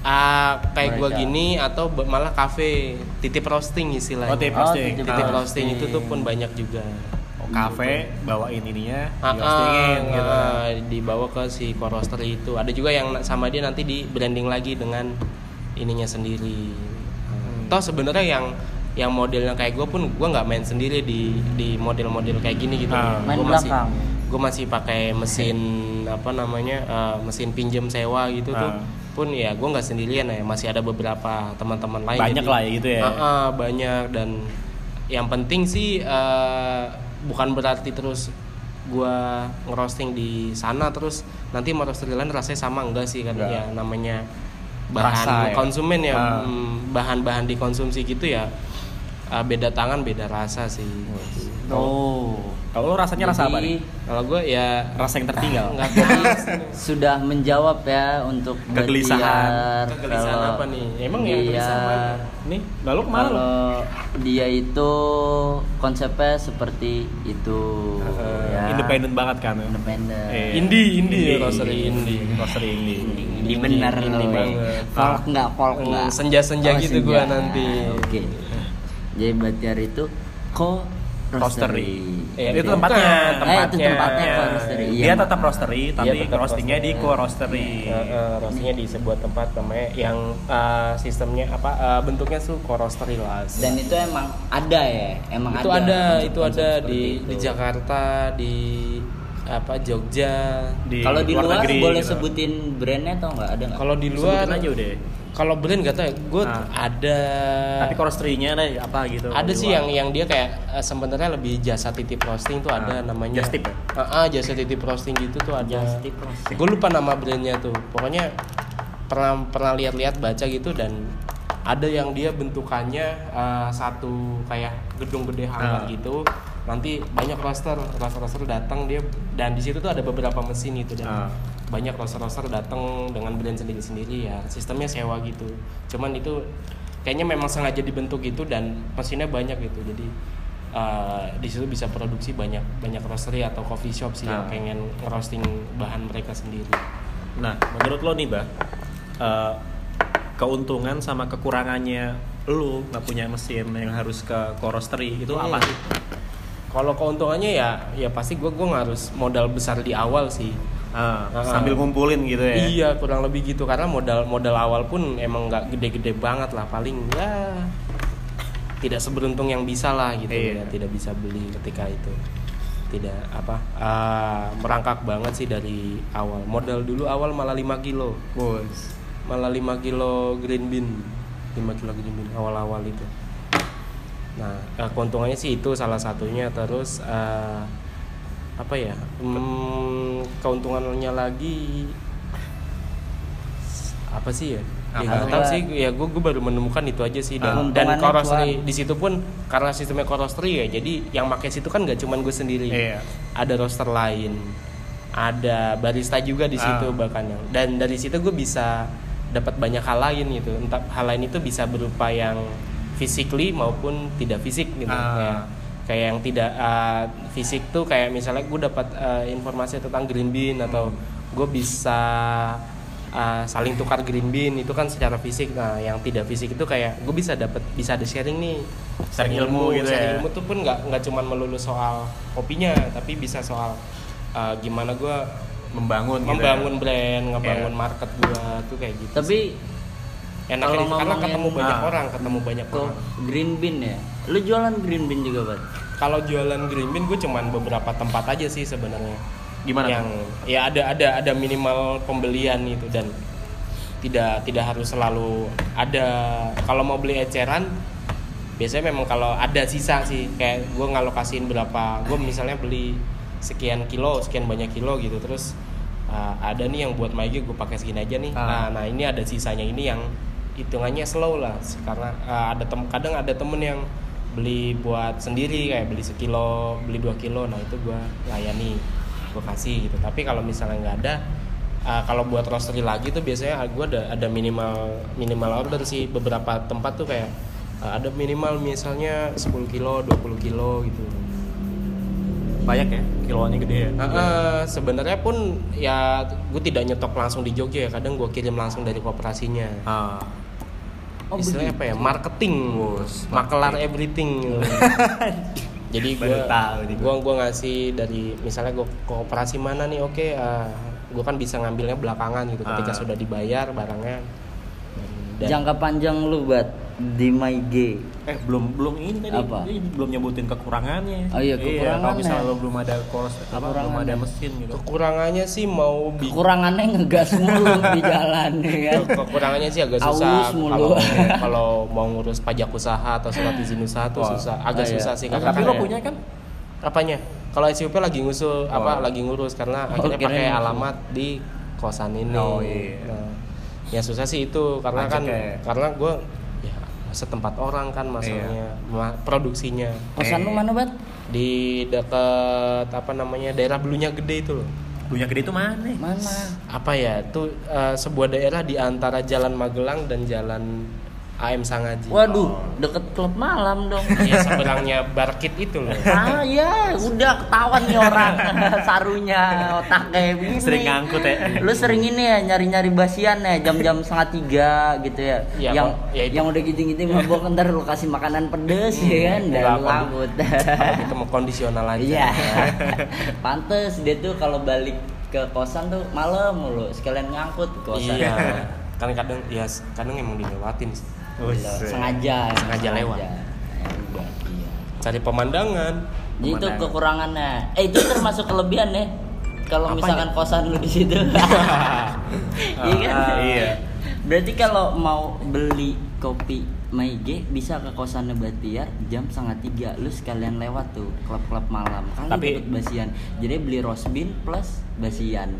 Ah, kayak gua Mereka. gini atau be- malah kafe titip roasting istilahnya. Oh, titip Oh, roasting. titip Titip Ah. roasting itu tuh pun banyak juga. Oke. kafe bawain ininya Iya. Ah, dihostingin ah, gitu ah, dibawa ke si core roster itu ada juga yang na- sama dia nanti di branding lagi dengan ininya sendiri Hmm. toh sebenarnya yang yang modelnya kayak gue pun gue nggak main sendiri di di model-model kayak gini gitu Ah. Main Gua masih belakang. gue masih pakai mesin apa namanya eh, mesin pinjam sewa gitu tuh Ah. pun ya gue nggak sendirian ya masih ada beberapa teman-teman lain Banyak lah ya gitu ya. Ah, ah, banyak dan yang penting sih eh, bukan berarti terus gua ngerosting di sana terus nanti mau roasting di lain rasanya sama enggak sih kan Enggak. ya namanya bahan Rasa ya. konsumen ya Ah. mm, bahan-bahan dikonsumsi gitu ya eh, beda tangan beda rasa sih oh kalau lo rasanya rasa apa Jadi, nih kalau gue ya rasa yang tertinggal nggak tahu sudah menjawab ya untuk Kegelisahan. Bahtiar [laughs] kegelisahan kalau iya. apa nih emang iya. yang dia- kegelisahan ya? mana? nih lalu kemana lo Kalau dia itu konsepnya seperti itu. Eh, ya. independen banget kan Independen. Eh, Indie, indie, indie. roastery indie. roastery indie Ini bener Indie loh. banget. Folk nggak folk Hmm, nggak. Oh, senja-senja gitu gua senja. nanti. Oke. Jadi Bahtiar itu ko roastery Eh, itu bukan. tempatnya Eh, itu tempatnya Iya. kok roastery. Iya, dia makanya. tetap roastery tapi Iya, tetap roastingnya di roastery. co roastery Eh, eh, roastingnya di sebuah tempat namanya yang eh, sistemnya apa eh, bentuknya tuh roastery lah Dan itu emang ada ya, emang itu ada, konsep- itu konsep ada seperti di itu. di Jakarta di apa Jogja Kalau di luar luar negeri boleh gitu. sebutin brandnya atau nggak ada nggak? kalau di luar sebutin aja udah kalau brand gak tau ya gue Ah. ada tapi co roasterynya deh apa gitu ada di sih luar. yang yang dia kayak eh, sebenarnya lebih jasa titip roasting tuh Ah, ada namanya just tip ya? Ah, ah, jasa titip roasting gitu tuh ada Just tip roasting. gue Ya, lupa nama brandnya tuh pokoknya pernah pernah lihat-lihat baca gitu dan ada yang dia bentukannya eh, satu kayak gedung gede hangar Ah. gitu nanti banyak roster roster roster datang dia dan di situ tuh ada beberapa mesin gitu dan Ah. banyak roster-roster datang dengan brand sendiri-sendiri ya sistemnya sewa gitu cuman itu kayaknya memang sengaja dibentuk gitu dan mesinnya banyak gitu jadi eh, di situ bisa produksi banyak banyak roastery atau coffee shop sih yang Ah. pengen roasting bahan mereka sendiri Nah, menurut lo nih, Bah, eh, keuntungan sama kekurangannya lo nggak punya mesin yang harus ke korostery itu Hmm. apa sih? kalau keuntungannya ya ya pasti gue gue harus modal besar di awal sih Ah, Ah. sambil ngumpulin gitu ya. iya kurang lebih gitu karena modal modal awal pun emang nggak gede-gede banget lah paling ya tidak seberuntung yang bisa lah gitu Iya. ya tidak bisa beli ketika itu tidak apa ah, merangkak banget sih dari awal modal dulu awal malah 5 kilo Bos. malah 5 kilo green bean 5 kilo green bean awal-awal itu nah eh, keuntungannya sih itu salah satunya terus eh, apa ya hmm, keuntungannya lagi apa sih ya Ya Apa? nggak tahu sih ya gue baru menemukan itu aja sih dan Keuntungannya dan korosri cuan. di situ pun karena sistemnya korosri ya jadi yang pakai situ kan nggak cuman gue sendiri Iya. ada roster lain ada barista juga di Ah. situ bahkan yang dan dari situ gue bisa dapat banyak hal lain gitu entah hal lain itu bisa berupa yang physically maupun tidak fisik gitu Ah. Kayak- kayak yang tidak uh, fisik tuh kayak misalnya gue dapat uh, informasi tentang green bean Hmm. atau gue bisa uh, saling tukar green bean itu kan secara fisik nah yang tidak fisik itu kayak gue bisa dapat bisa ada sharing nih Sharing ilmu gitu sharing ya. ilmu tuh pun nggak nggak cuman melulu soal kopinya tapi bisa soal uh, gimana gue Membangun. gitu membangun ya. brand ngebangun Iya. market gue tuh kayak gitu Tapi enak kalau karena ngomongin- ketemu banyak Ah. orang ketemu banyak kok orang green bean ya? Lu jualan green bean juga, Bat? kalau jualan green bean gue cuman beberapa tempat aja sih sebenarnya Gimana yang ya ada ada ada minimal pembelian itu dan tidak tidak harus selalu ada kalau mau beli eceran biasanya memang kalau ada sisa sih kayak gue ngalokasiin berapa gue misalnya beli sekian kilo sekian banyak kilo gitu terus uh, ada nih yang buat maigi gue pakai segini aja nih Ah. nah nah ini ada sisanya ini yang hitungannya slow lah karena uh, ada tem kadang ada temen yang beli buat sendiri kayak beli sekilo beli dua kilo nah itu gue layani gue kasih gitu tapi kalau misalnya nggak ada uh, kalau buat roastery lagi tuh biasanya gue ada ada minimal minimal order sih beberapa tempat tuh kayak uh, ada minimal misalnya 10 kilo 20 kilo gitu Banyak ya, kiloannya gede ya. Nah, eh, sebenarnya pun ya gue tidak nyetok langsung di Jogja ya kadang gue kirim langsung dari kooperasinya Ah. Oh, Oh, istilahnya apa ya marketing Bos, [laughs] makelar everything jadi Baru gua tahu nih gua. gua gua ngasih dari misalnya gua kooperasi mana nih oke ah, gua kan bisa ngambilnya belakangan gitu ketika Ah. sudah dibayar barangnya Dan- Jangka panjang lu buat di MyG. eh belum belum ini tadi Apa? dia belum nyebutin kekurangannya Oh iya, kalau kekurangannya. misalnya lo belum ada course apa belum Kekurangannya. ada mesin gitu kekurangannya sih mau bikin Kekurangannya ngegas mulu [laughs] di jalan ya kan. Ke- kekurangannya sih [laughs] agak Aus susah mulu. kalau kalau mau ngurus pajak usaha atau surat izin usaha tuh Wah. susah Ah, agak iya. susah sih ya. Tapi kakak lo punya kan? apanya kalau SUP lagi ngusul Wah. apa lagi ngurus karena Oh, akhirnya kirain pakai ngusul. alamat di kosan ini gitu. Oh, iya. Nah, ya susah sih itu karena Pajak kan ya. karena gue ya setempat orang kan masalahnya Iya. ma- produksinya Kosan lu mana, Bat? di dekat apa namanya daerah belunya gede itu loh punya gede itu mana Mana? apa ya itu eh, sebuah daerah di antara Jalan Magelang dan Jalan AM Sangaji. Waduh, deket klub malam dong. Ya seberangnya Barkit itu loh. Ah ya, udah ketahuan nih orang [laughs] sarunya otaknya begini. Sering ngangkut ya. Lu sering ini ya nyari-nyari basian ya jam-jam setengah tiga gitu ya. Iya, yang kok. Ya, itu. yang udah gitu-gitu mabok ntar lu kasih makanan pedes ya kan dan Enggak, lu kalau- angkut. [laughs] Kalau kita mau kondisional aja. Iya. [laughs] Pantes dia tuh kalau balik ke kosan tuh malam mulu sekalian ngangkut ke kosan. Gitu. Iya. Kan kadang ya kadang emang dilewatin sih. Gila, sengaja emang Sengaja lewat. Ya, udah, iya. cari pemandangan. Jadi itu Pemandangan. kekurangannya. Eh itu termasuk kelebihan ya. Kalau Apanya? misalkan kosan lu di [laughs] situ. Iya kan? Ah, iya. Berarti kalau mau beli kopi Maige bisa ke kosannya Batiar jam setengah tiga lu sekalian lewat tuh klub-klub malam kali Tapi- dapet basian jadi beli rosbin plus [laughs] basian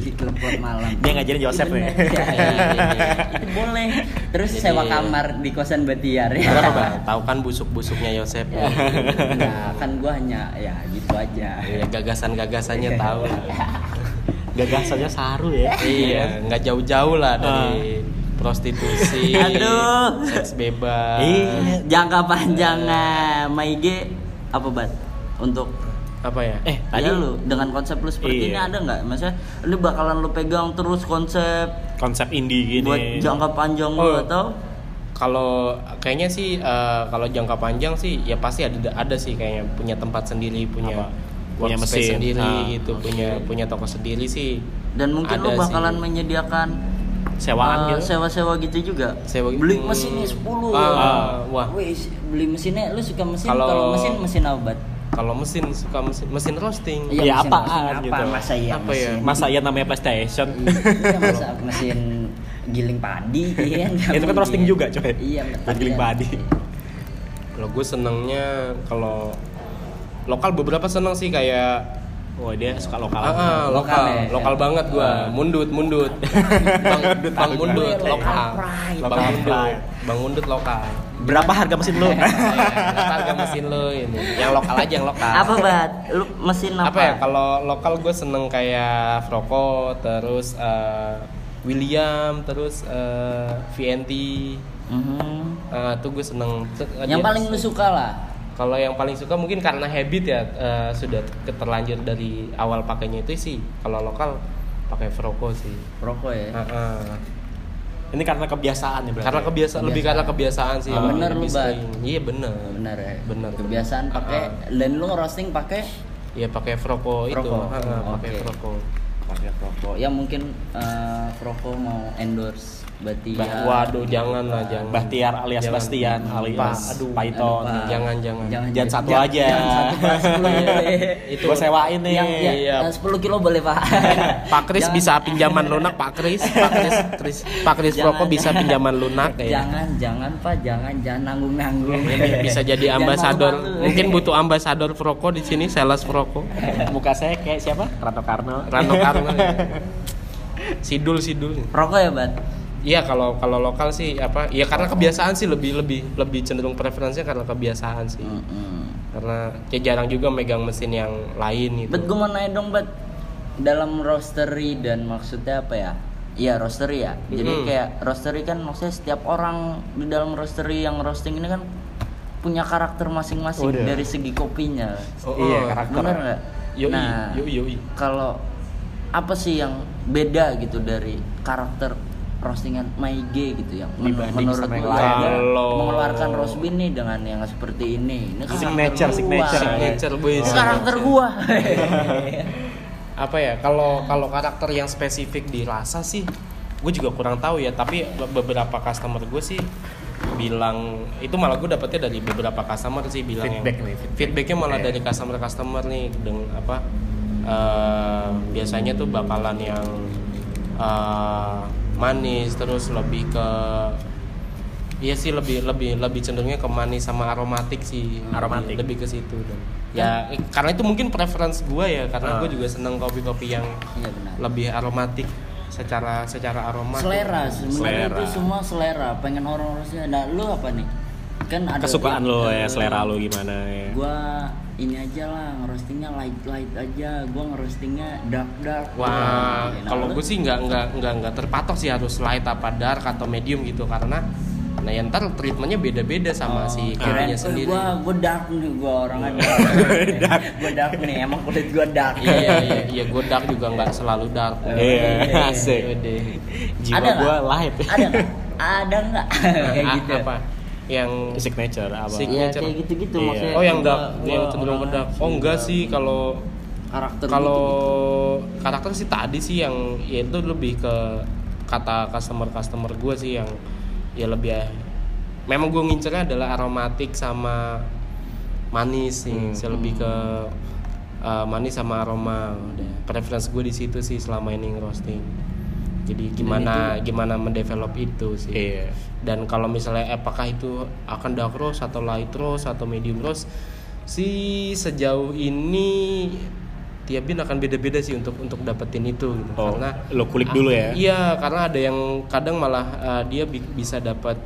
di klub-klub malam Dia ngajarin Joseph ya? nih. Bener. Iya, iya, iya. itu boleh terus Jadi- sewa kamar di kosan Batiar Iya. ya Kenapa, Bang? Tahu kan busuk-busuknya Yosep. Ya, Iya. nah, kan gua hanya ya gitu aja. Ya, gagasan-gagasannya Iya. tahu lah. gagasannya saru ya iya, nggak jauh-jauh Ah. lah dari prostitusi, Aduh. seks bebas. Iya. [laughs] Jangka panjangnya Maige apa bat untuk Apa ya? eh tadi ya lu dengan konsep lu Iya. seperti ini ada nggak? Maksudnya lu bakalan lu pegang terus konsep konsep indie gini buat jangka panjang lu Oh. atau Kalau kayaknya sih eh, kalau jangka panjang sih ya pasti ada ada sih kayaknya punya tempat sendiri, punya Apa? Punya workspace mesin. sendiri Ah, gitu, punya punya toko sendiri sih. dan mungkin lu Ada bakalan sih. menyediakan Sewaan eh, gitu. sewa-sewa gitu juga. Sewa- beli Hmm. mesinnya 10. Ah, ya. wah. Wih, beli mesinnya lu suka mesin Kalau- kalau mesin mesin apa? Bat? Kalau mesin suka mesin mesin roasting. Iya. mesin apaan roasting. gitu. Apa masa iya Ya, Apa ya? mesin? masa iya namanya PlayStation Iya, masa mesin giling padi iya [laughs] Itu nggak kan mungkin. roasting juga, coy. iya Buat giling padi. Kalau gue senengnya kalau lokal beberapa seneng sih kayak wah dia suka lokal Ah, ah, lokal, lokal, lokal ya. banget gua. Mundut, mundut. Bang, bang mundut, Lokal lokal. pride. Bang Lokal mundut, pride. bang mundut lokal. berapa harga mesin lu Iya, harga mesin lo ini. Yang lokal aja yang lokal. apa bat lu mesin apa, Apa ya kalau lokal gue seneng kayak Froko, terus eh, William, terus eh, VNT. Mhm. Eh, tuh gue seneng. Tuh, yang dia- paling lu suka lah kalau yang paling suka mungkin karena habit ya eh, sudah keterlanjur dari awal pakainya itu sih. Kalau lokal pakai Froko sih. rokok ya Ah, ah. [laughs] ini karena kebiasaan ya berarti karena kebiasaan lebih karena kebiasaan Ah, sih lebih- bener lebih lu, Bat. sering. iya bener benar ya Benar. kebiasaan pakai Ah, dan lu roasting pakai iya pakai froko itu Froko. Ah, ah, pakai Oke. froko pakai rokok ya mungkin eh rokok mau endorse Batia Bah- waduh jangan lah Iya. jangan Bahtiar alias Jangan. Bastian alias Pas. aduh, Aduh, Python Pak. Jangan, jangan. Jangan satu aja. Nah, jangan satu, [laughs] Pak. Sepuluh [laughs] ya. itu gua sewain nih yang ya, Iya. eh, 10 kilo boleh pak Pak Kris Jangan- bisa pinjaman lunak Pak Kris Pak Kris, Kris- Pak [laughs] Kris Jangan, Froko bisa jangan. pinjaman lunak ya jangan jangan pak jangan jangan nanggung nanggung Ini bisa jadi ambasador mungkin butuh ambasador Froko di sini sales Froko [laughs] muka saya kayak siapa Rano Karno Rano Karno ya. Sidul Sidul rokok ya bat Iya kalau kalau lokal sih apa? Iya karena kebiasaan sih lebih lebih lebih cenderung preferensinya karena kebiasaan sih. Hmm. Karena kayak jarang juga megang mesin yang lain gitu. bet gue mau nanya dong bat dalam roastery dan maksudnya apa ya Iya roastery ya. Jadi Mm. kayak roastery kan maksudnya setiap orang di dalam roastery yang roasting ini kan punya karakter masing-masing Udah. dari segi kopinya. Oh, iya oh. karakter Bener nggak? Yoi, Nah, yoi, yoi. kalau apa sih yang beda gitu dari karakter roastingan MyG gitu yang men- Dibanding menurut sama yang gua lain. ada Kalau- mengeluarkan Rosbin nih dengan yang seperti ini. Ini karakter Signature, gua. signature. Signature, boy. Ini karakter [laughs] gua. apa ya kalau kalau karakter yang spesifik dirasa sih gue juga kurang tahu ya tapi be- beberapa customer gue sih bilang itu malah gue dapetnya dari beberapa customer sih bilang yang- Feedback nih, feedback. feedbacknya malah Iya. dari customer customer nih dengan apa eh, biasanya tuh bakalan yang eh, manis terus lebih ke Iya sih lebih lebih lebih cenderungnya ke manis sama aromatik sih Aromatik. Kan lebih, lebih ke situ dan ya eh, karena itu mungkin preference gue ya karena Ah. gue juga seneng kopi-kopi yang Iya benar. lebih aromatik secara secara aroma Selera sebenarnya Selera. itu semua selera. Pengen orang roasting. Nah, lu apa nih? Kan ada kesukaan tuh, lo ya eh, selera lo gimana ya gua ini aja lah ngerostingnya light light aja gua ngerostingnya dark dark wah Nah, kalau lu- gue sih nggak nggak nggak nggak terpatok sih harus light apa dark atau medium gitu karena nah yang ntar treatmentnya beda-beda Oh, sama si kirain, kopinya eh, sendiri gua gua dark nih gua orangnya [laughs] dark gua dark nih emang kulit gua dark iya iya iya gue dark juga nggak selalu dark Eh, Iya, iya, asik. [laughs] Yaudah. Jiwa Ada nggak? gua light. ada nggak ada [laughs] nggak kayak A- gitu apa yang [laughs] Signature apa? Sig- Iya Signature. kayak gitu-gitu Iya. maksudnya. Oh yang dark, Gua- yang gua cenderung ke orangnya dark. Oh enggak sih kalau karakter gitu. kalau gitu-gitu. gitu, karakter sih tadi sih yang ya itu lebih ke kata customer customer gue sih yang ya lebih memang gue ngincernya adalah aromatik sama manis sih Hmm. Saya lebih ke uh, manis sama aroma udah preference gue di situ sih selama ini roasting jadi gimana gimana mendevelop itu sih Iya. dan kalau misalnya eh, apakah itu akan dark roast atau light roast atau medium roast si sejauh ini tiap bin akan beda-beda sih untuk untuk dapetin itu gitu. Oh, karena lo kulik dulu ya? iya karena ada yang kadang malah eh, dia bi- bisa dapat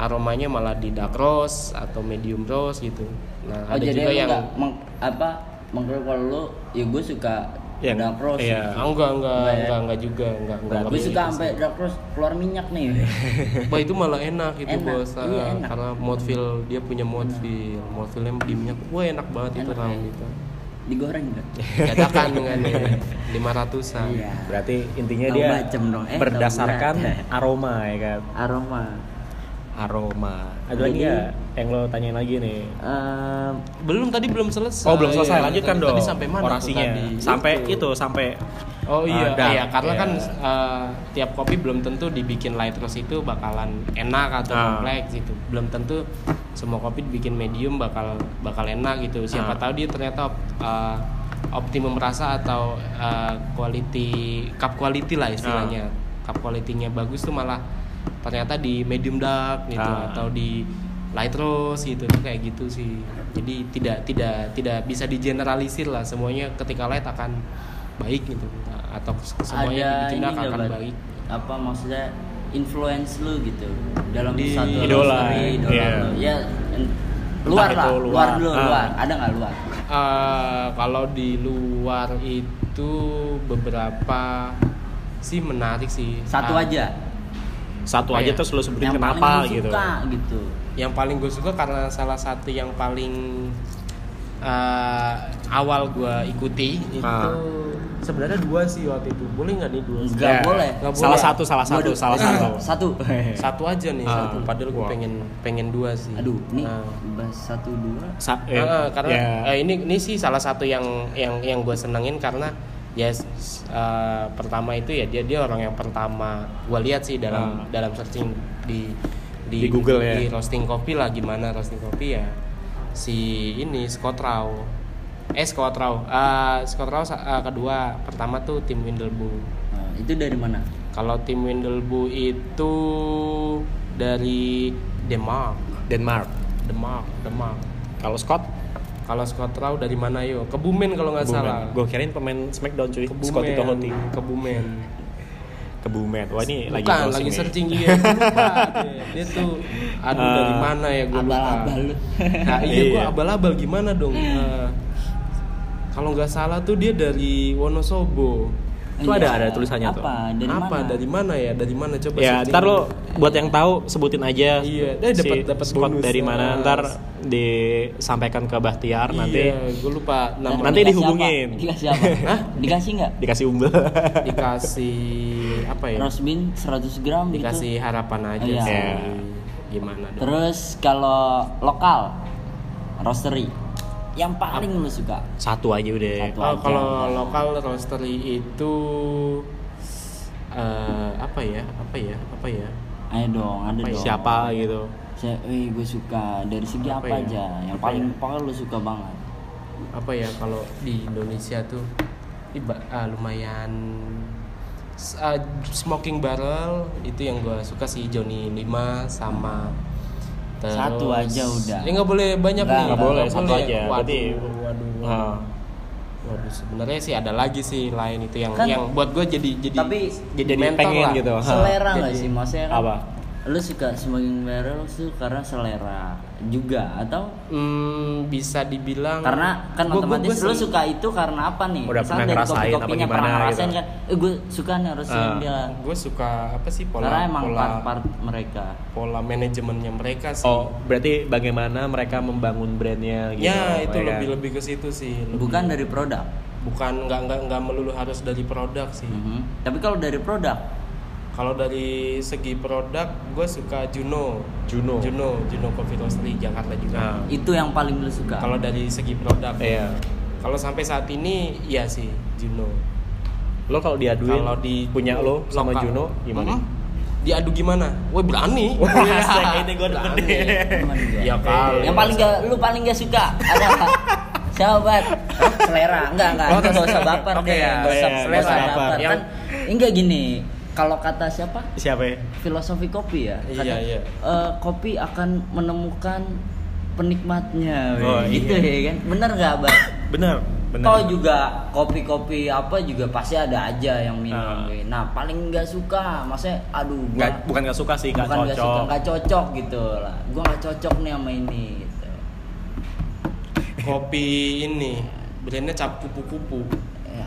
aromanya malah di dark roast atau medium roast gitu nah Oh, ada jadi lu juga yang nggak meng- apa mengklaim kalau lu ya gua suka Yang- dark roast iya. Ah, enggak enggak Enggak ya? enggak enggak juga enggak enggak Gue lebih suka itu sih. sampai dark roast keluar minyak nih. [laughs] Bah itu malah enak itu Enak, bos. Ah, iya, enak. Karena modfil dia punya modfil, modfilnya di minyak. Wah enak banget itu Enak, ram ya. gitu. Digoreng enggak? Dadakan dengan lima ratusan. Iya. Berarti intinya Tahu dia bacem dong, eh, tahu berdasarkan berat. [laughs] aroma ya kan. Aroma. Aroma. Ada lagi Jadi- nggak yang lo tanyain lagi nih? Ehm, Belum tadi belum selesai. Oh belum selesai, lanjutkan Tadi- dong. Tadi sampai mana? tuh Orasinya. tadi? Sampai itu, sampai Oh Ah, iya, dark. iya karena Iya. kan eh, tiap kopi belum tentu dibikin light roast itu bakalan enak atau Ah. kompleks gitu. Belum tentu semua kopi dibikin medium bakal bakal enak gitu. Ah. Siapa tahu dia ternyata op- eh, optimum rasa atau eh, quality cup quality lah Ah. istilahnya. Cup quality-nya bagus tuh malah ternyata di medium dark gitu Ah. atau di light roast gitu kayak gitu sih. Jadi tidak tidak tidak bisa digeneralisir lah semuanya ketika light akan baik gitu atau semuanya ada dibikin ini dark nggak, akan Bat? baik. Apa maksudnya influence lu gitu dalam Di- satu idola, roastery, idola iya. lu. Ya en- luar itu lah, luar. luar dulu, Ah. luar. Ada nggak luar? Eh, kalau di luar itu beberapa sih menarik sih. Satu Ah, aja. satu Apa aja ya? terus lo sebutin yang kenapa paling lu gitu. [laughs] suka gitu. Yang paling gue suka karena salah satu yang paling eh, awal gue ikuti itu Ah. sebenarnya dua sih waktu itu. Boleh nggak nih dua? Nggak Ya. boleh. Nggak boleh. Salah satu, salah satu, Waduh, salah satu. [laughs] [laughs] Satu. Satu aja nih. Ah. Satu. Padahal gue Wah. pengen pengen dua sih. Aduh, nih Ah. bahas satu dua. Sa- eh, Heeh, karena ya. eh, ini ini sih salah satu yang yang yang gue senengin karena ya s- eh, pertama itu ya dia dia orang yang pertama gue lihat sih dalam Ah. dalam searching di Di Google ya? di roasting kopi lah gimana roasting kopi ya si ini Scott Rao eh Scott Rao Eh, Scott Rao sa- eh, kedua pertama tuh tim Windelbu Nah, itu dari mana? kalau tim Windelbu itu dari Denmark Denmark. Denmark Denmark Kalau Scott, kalau Scott Rao dari mana yo? Kebumen kalau nggak salah. gue kirain pemain Smackdown cuy. Kebumen. Scott itu Hoti. Kebumen. Kebumen. Wah ini lagi Bukan, browsing lagi nih. searching iya. gua lupa. Dia- Dia tuh aduh Eh, dari mana ya gue lupa. abal-abal lu. [laughs] Hmm. Nah, iya gue Iya. abal-abal gimana dong? Eh, kalau nggak salah tuh dia dari Wonosobo. Itu ada- ada tulisannya apa? tuh. Ah, Dari Apa? mana? Dari mana ya? Dari mana coba Ya, searching. ntar lo buat yang tahu sebutin aja. Iya, eh, dapat- dapat Scott bonus. dari mana? Nah. Ntar disampaikan ke Bahtiar nanti Iya, gue lupa Dan nama Nanti [laughs] dikasih dihubungin. apa? Dikasih apa? Dikasih nggak? dikasih umbel. dikasih apa ya roast bean 100 gram gitu dikasih harapan aja Iya. sih Iya. gimana dong? terus kalau lokal roastery yang paling lu suka [laughs] Satu aja udah. Satu. Oh, aja. kalau lokal roastery itu eh, apa ya apa ya apa ya ayo dong ada Apa ya? dong Siapa gitu. saya eh gue suka dari segi apa, Apa ya? aja yang Apa paling ya? paling lu suka banget apa ya kalau di Indonesia tuh ini ba- ah, lumayan s- ah, smoking barrel itu yang gua suka sih Johnny 5 sama terus- Satu aja udah. Ya nggak boleh banyak Nggak, nih. nggak boleh, satu aja. Waduh, Berarti- waduh. Ah. Waduh, sebenarnya sih ada lagi sih lain itu yang Kan- yang buat gua jadi jadi Tapi- Jadi pengen gitu. Hah. selera nggak Jadi- sih maksudnya kan Apa? lu suka smoking barrel tuh karena selera juga atau Hmm, bisa dibilang karena kan Gua- gua- otomatis lu gua sih- suka itu karena apa nih Udah Misalnya pernah dari ngerasain apa kopi-kopinya gimana pernah gitu. ngerasain kan eh, gue suka nih harus Ah. dia gue suka apa sih pola karena emang pola part-part mereka pola manajemennya mereka sih Oh, berarti bagaimana mereka membangun brandnya gitu. ya itu kan? lebih lebih ke situ sih Oh, Lebih- iya. bukan dari produk bukan nggak nggak nggak melulu harus dari produk sih Mhm. tapi kalau dari produk kalau dari segi produk gue suka Juno Juno. Juno Juno Coffee Roastery Jakarta juga Nah, itu yang paling lu suka kalau dari segi produk iya. kalau sampai saat ini iya sih Juno Lo kalau diaduin Kalau di- punya lo sama lokal. Juno gimana? Mhm. diadu gimana? Wah berani. [laughs] Wah, asik, ini gua demen Berani. nih. Cuman gua. [laughs] Ya kali. yang paling gak lu paling gak suka ada [laughs] apa? sahabat selera enggak enggak Oh, itu nggak usah selera. baper Oke, deh ya, nggak usah iya, nggak usah selera. baper Yang- kan enggak gini kalau kata siapa Siapa ya? filosofi kopi ya Iya, Katanya, iya. eh, kopi akan menemukan penikmatnya Oh, iya. weh. gitu ya kan bener nggak bang Benar, benar. Toh juga kopi-kopi apa juga pasti ada aja yang minum. Ah. weh. Nah paling nggak suka, maksudnya aduh gua Nggak- bukan gak suka sih, gak bukan nggak suka cocok. nggak cocok gitu lah gue nggak cocok nih sama ini gitu Kopi ini brandnya cap kupu-kupu. ya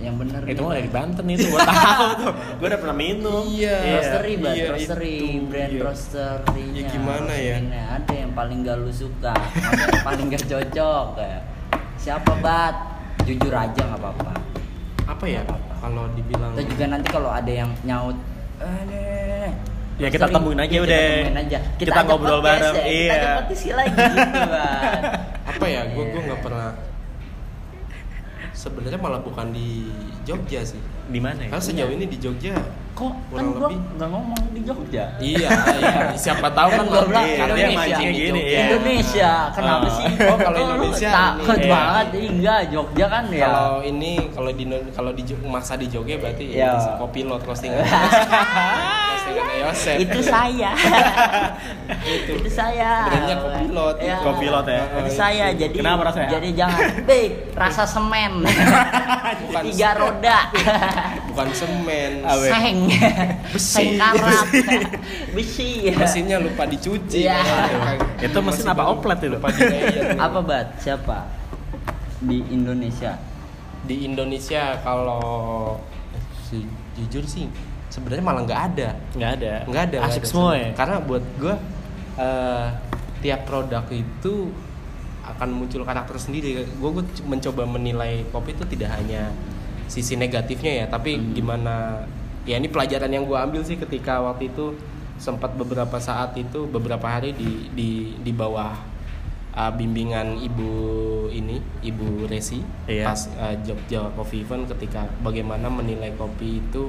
yang bener itu nih. mah dari Banten itu gua tahu tuh. [laughs] Gua udah pernah minum. Iya. roastery Iya, ban itu, roastery brand iya. roastery Ya, gimana ya? ada yang paling gak lu suka ada yang paling gak cocok kayak siapa bat jujur aja nggak apa-apa Apa ya? Kalau dibilang atau juga nanti kalau ada yang nyaut "Eh, Ya, kita roastery." temuin aja Iya, udah. kita temuin aja kita, Kita ajak ngobrol podcast bareng, ya. kita iya. ajak podcast lagi gitu [laughs] Ban. apa ya gue gue Iya. nggak pernah sebenarnya malah bukan di Jogja sih Di mana ya? karena sejauh ini di Jogja Kok kan Kurang gua lebih. nggak ngomong di Jogja? iya iya [laughs] siapa tahu kan Kan gua lebih bilang karena dia di mancingnya Jogja. gini, iya. Indonesia, kenapa Ah. sih? Oh, kalau Lu Indonesia takut ini, iya. banget, Ih, enggak Jogja kan ya. kalau ini kalau di kalau di Jog- masa di Jogja berarti Iya. ya kopi lo [laughs] roasting roasting Yosep itu [laughs] saya. itu, saya. Gitu. Brandnya Kopilot. Oh, iya. Iya. Kopilot ya. Itu saya jadi Kenapa rasanya? Jadi [laughs] jangan baik rasa semen. [laughs] Bukan Tiga semen. roda. bukan semen Awe. Seng. Besi. Seng karat. [laughs] Besi. mesinnya lupa dicuci Iya. Aduh, Itu mesin masih apa baru- oplet itu? lupa dilayer. Apa bat? Siapa? Di Indonesia. di Indonesia kalau ju- jujur sih sebenarnya malah nggak ada Nggak ada. nggak ada nggak Asik ada. Kan- semua ya. karena buat gue tiap produk itu akan muncul karakter sendiri gue mencoba menilai kopi itu tidak hanya sisi negatifnya ya tapi Hmm. gimana ya ini pelajaran yang gue ambil sih ketika waktu itu sempat beberapa saat itu beberapa hari di di di bawah uh, bimbingan ibu ini ibu Resi Iya. pas uh, Jogja Coffee Event ketika bagaimana menilai kopi itu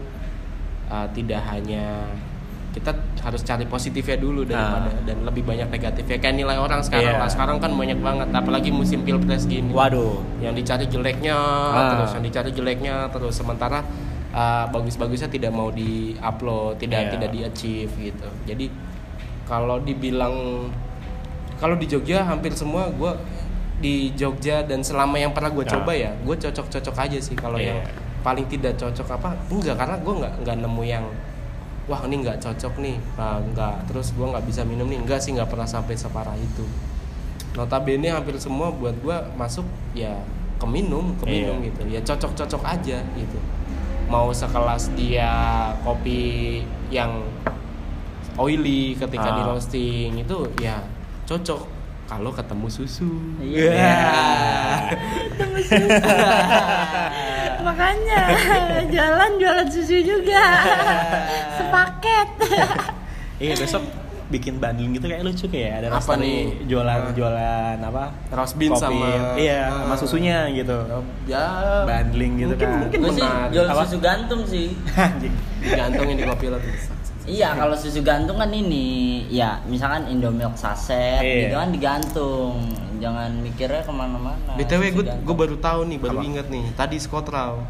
uh, tidak hanya kita harus cari positifnya dulu daripada dan lebih banyak negatifnya kayak nilai orang sekarang Iya. lah sekarang kan banyak banget apalagi musim pilpres gini Waduh. yang dicari jeleknya Ah. terus yang dicari jeleknya terus sementara uh, bagus-bagusnya tidak mau di upload Iya. tidak tidak di achieve gitu jadi kalau dibilang kalau di Jogja hampir semua gue di Jogja dan selama yang pernah gue Ya. coba ya gue cocok-cocok aja sih kalau Iya. yang paling tidak cocok apa enggak karena gue nggak nggak nemu yang wah ini nggak cocok nih nah, nggak terus gue nggak bisa minum nih enggak sih nggak pernah sampai separah itu notabene hampir semua buat gue masuk ya ke minum ke minum Iya. gitu ya cocok-cocok aja gitu mau sekelas dia kopi yang oily ketika Ah. di roasting itu ya cocok kalau ketemu susu Iya. Iya. Ketemu susah. makanya jalan jualan susu juga sepaket [laughs] Iya besok bikin bundling gitu kayak lucu kayak ada Apa roastery nih? jualan Ah. jualan apa Roast bean Kopi. sama- iya Ah. sama susunya gitu ya bundling gitu Mungkin- kan mungkin. Gue sih [laughs] menarik. jual Apa? susu gantung sih. anjing digantungin di kopi lot Iya, kalau susu gantung kan ini, ya misalkan Indomilk saset, Iya. gitu kan digantung. Jangan mikirnya kemana-mana. btw Susu gue gantung. gue baru tahu nih Ah, baru Apa? ingat nih tadi Scottrell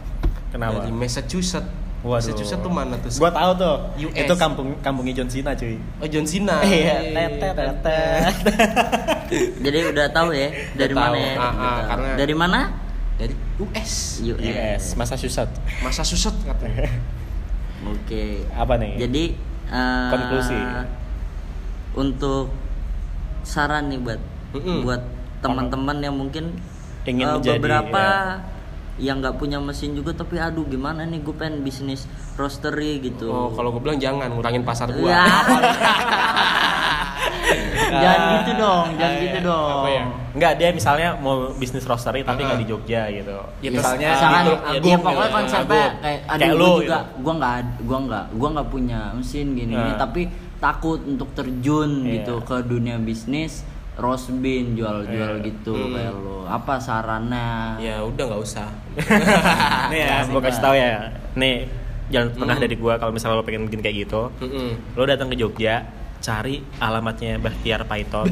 kenapa dari Massachusetts Massachusetts tuh mana tuh Gua tahu tuh. US. Itu kampung kampungnya John Cena, cuy. Iya. oh John Cena Tetet, tetet. [laughs] Jadi udah tahu ya dari tahu. mana ya? Ah, Udah ah, tahu. karena- Dari mana? dari US US. US, [laughs] Massachusetts. Massachusetts katanya Oke. Hmm. Apa nih? Jadi eh, Konklusi. Untuk saran nih buat Mm-mm. buat teman-teman yang mungkin Ingin eh, menjadi, beberapa ya. yang nggak punya mesin juga tapi aduh gimana nih gue pengen bisnis roastery gitu. oh kalau gue bilang jangan ngurangin pasar gua [laughs] Ya. jangan Ah, gitu dong, jangan ah, gitu iya. dong. Apa ya? Enggak, dia misalnya mau bisnis roastery tapi nggak di Jogja [laughs] gitu. Ya, terus- misalnya Misalkan, gitu, ya, Agung pokoknya gitu, konsepnya Agung. kayak, aduh, Kayak gua lu juga, gua nggak, gua nggak, gua nggak punya mesin gini, Nah. tapi takut untuk terjun Iya. gitu ke dunia bisnis, roast bean jual-jual Iya. gitu Hmm. kayak lo. Apa sarannya? ya udah nggak [laughs] usah nih ya, Asik gua banget. kasih tahu ya. Nih, jangan pernah Hmm. dari gua kalau misalnya lo pengen bikin kayak gitu, Mm-mm. lo datang ke Jogja, cari alamatnya Bahtiar [laughs] Python.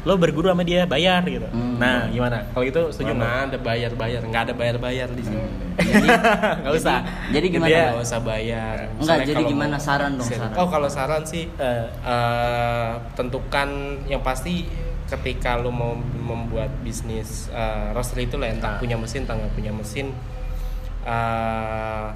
lo berguru sama dia, bayar gitu. Hmm. Nah, gimana? Kalau gitu setuju nggak? Mana ada bayar-bayar, nggak ada bayar-bayar di sini. Jadi, Nggak usah. jadi Jadi gimana? ya, Nggak usah bayar. Enggak, jadi kalau gimana? mau- Saran dong, saran. Oh, kalau saran sih Eh, eh, tentukan yang pasti ketika lu mau membuat bisnis eh, roastery itu lah Ah. entah punya mesin entah nggak punya mesin eh,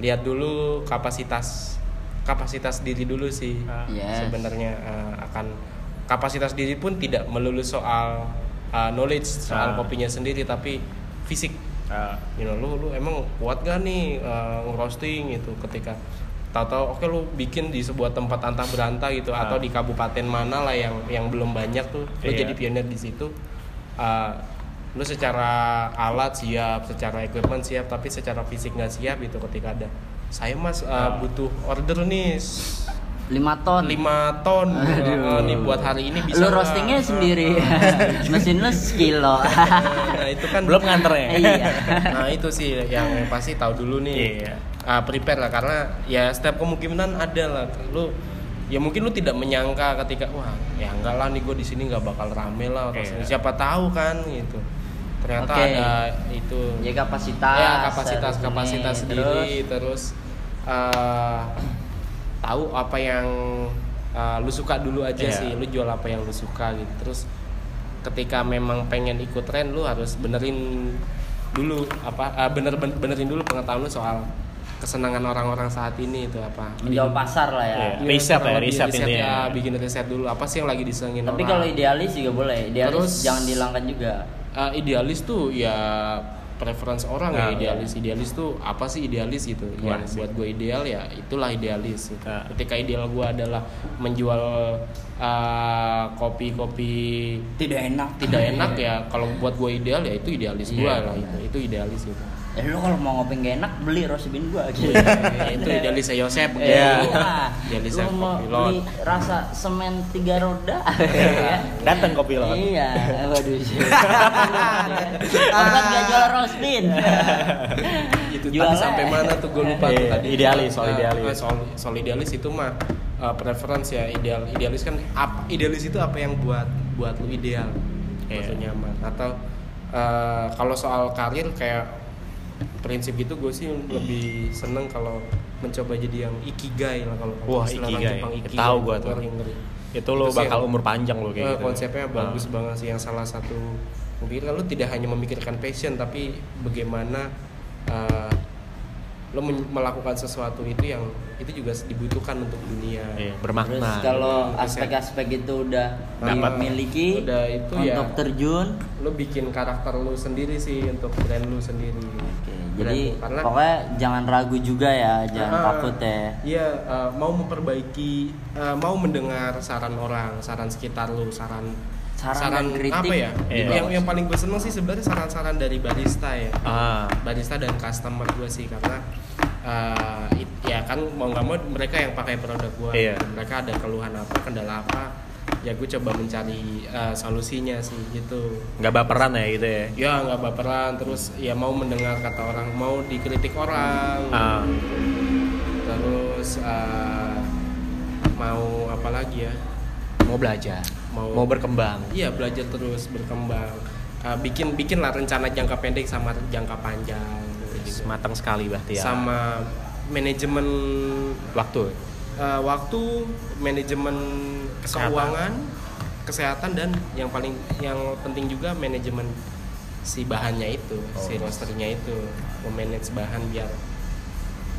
lihat dulu kapasitas kapasitas diri dulu sih Ah. Yes. sebenarnya eh, akan kapasitas diri pun tidak melulu soal eh, knowledge Ah. soal kopinya sendiri tapi fisik eh, you know, lu lu emang kuat gak nih uh, ngerosting gitu ketika tahu-tahu oke lu bikin di sebuah tempat antah berantah gitu Ah. atau di kabupaten mana lah yang yang belum banyak tuh lu Iya. jadi pionir di situ Uh, lu secara alat siap secara equipment siap tapi secara fisik nggak siap gitu ketika ada saya mas uh, Ah. butuh order nih s- 5 ton. 5 ton uh, Aduh. nih buat hari ini bisa Lo nggak? roastingnya Uh, sendiri. [laughs] Mesin lo sekilo. uh, nah itu kan belum nganternya. Iya. nah itu sih yang pasti tahu dulu nih Iya. Ah, prepare lah karena ya setiap kemungkinan ada lah lu ya mungkin lu tidak menyangka ketika wah ya enggak lah nih gue di sini nggak bakal rame lah atau Iya. siapa tahu kan gitu ternyata Oke. ada itu Ya kapasitas. ya kapasitas harus kapasitas ini. sendiri terus, eh, tahu apa yang eh, lu suka dulu aja Iya. sih lu jual apa yang lu suka gitu terus ketika memang pengen ikut tren lu harus benerin dulu apa eh, bener ben- benerin dulu pengetahuan lu soal kesenangan orang-orang saat ini itu apa Terus menjawab pasar lah ya. Iya. Iya, Riset kurang ya, lebih riset intinya. ya, bikin riset dulu apa sih yang lagi disengin Tapi orang. kalau idealis juga boleh. Idealis Terus- jangan dihilangkan juga. Uh, idealis tuh ya preference orang Nah, ya idealis idealis tuh apa sih idealis gitu Iya yang sih. buat gue ideal ya itulah idealis gitu. Nah. ketika ideal gue adalah menjual uh, kopi-kopi Tidak enak. [laughs] tidak [laughs] enak ya kalau buat gue ideal ya itu idealis gue Iya. lah itu itu idealis gitu. [laughs] itu Eh lu kalau mau ngopi gak enak beli rosbin gua gitu. ya, itu [laughs] idealis saya Yosep gitu. Iya. idealis Lu saya mau kopi lot Iya. beli rasa semen tiga [laughs] roda. ya. datang kopi lo. [laughs] Iya, waduh. Orang gak jual rosbin. itu Jualan. tadi sampai mana tuh gue lupa tuh Iya, tadi idealis, soal Nah, idealis. nah, soal, soal idealis itu mah uh, preference ya ideal idealis kan apa idealis itu apa yang buat buat lu ideal Iya. buat lu nyaman atau uh, kalau soal karir kayak prinsip gitu gue sih lebih seneng kalau mencoba jadi yang ikigai lah kalau Wah, istilah orang ikigai. Jepang Tahu gua tuh. Ngeri, ngeri. Itu lo Itu sih bakal yang- umur panjang lo Eh, kayak gitu. konsepnya bagus banget sih yang salah satu mungkin kan lu tidak hanya memikirkan passion tapi bagaimana eh, lo men- melakukan sesuatu itu yang itu juga dibutuhkan untuk dunia Iya, Terus bermakna. kalau Nah, aspek-aspek itu udah Dapat. dimiliki Udah itu untuk ya. terjun. lo bikin karakter lu sendiri sih untuk brand lu sendiri Oke, Brand jadi lu. karena pokoknya jangan ragu juga ya, jangan Ah, takut ya. Iya, eh, mau memperbaiki, eh, mau mendengar saran orang, saran sekitar lu, saran Saran, dan saran kritik apa ya? Iya. dibawa. Yang yang paling gue seneng sih sebenarnya saran-saran dari barista ya. Ah. Barista dan customer gue sih karena eh, it- ya kan mau nggak mau mereka yang pakai produk gue. Iya. Mereka ada keluhan apa, kendala apa, ya gue coba mencari eh, solusinya sih gitu. nggak baperan ya gitu ya Ya nggak baperan terus ya mau mendengar kata orang, mau dikritik orang, Ah. terus eh, mau apa lagi ya? mau belajar Mau- mau berkembang Iya belajar terus berkembang. Uh, bikin bikin lah rencana jangka pendek sama jangka panjang. gitu. matang sekali Bahtiar Sama manajemen waktu uh, waktu, manajemen Kesehatan. keuangan, kesehatan dan yang paling yang penting juga manajemen si bahannya itu, si rosternya itu, memanage bahan biar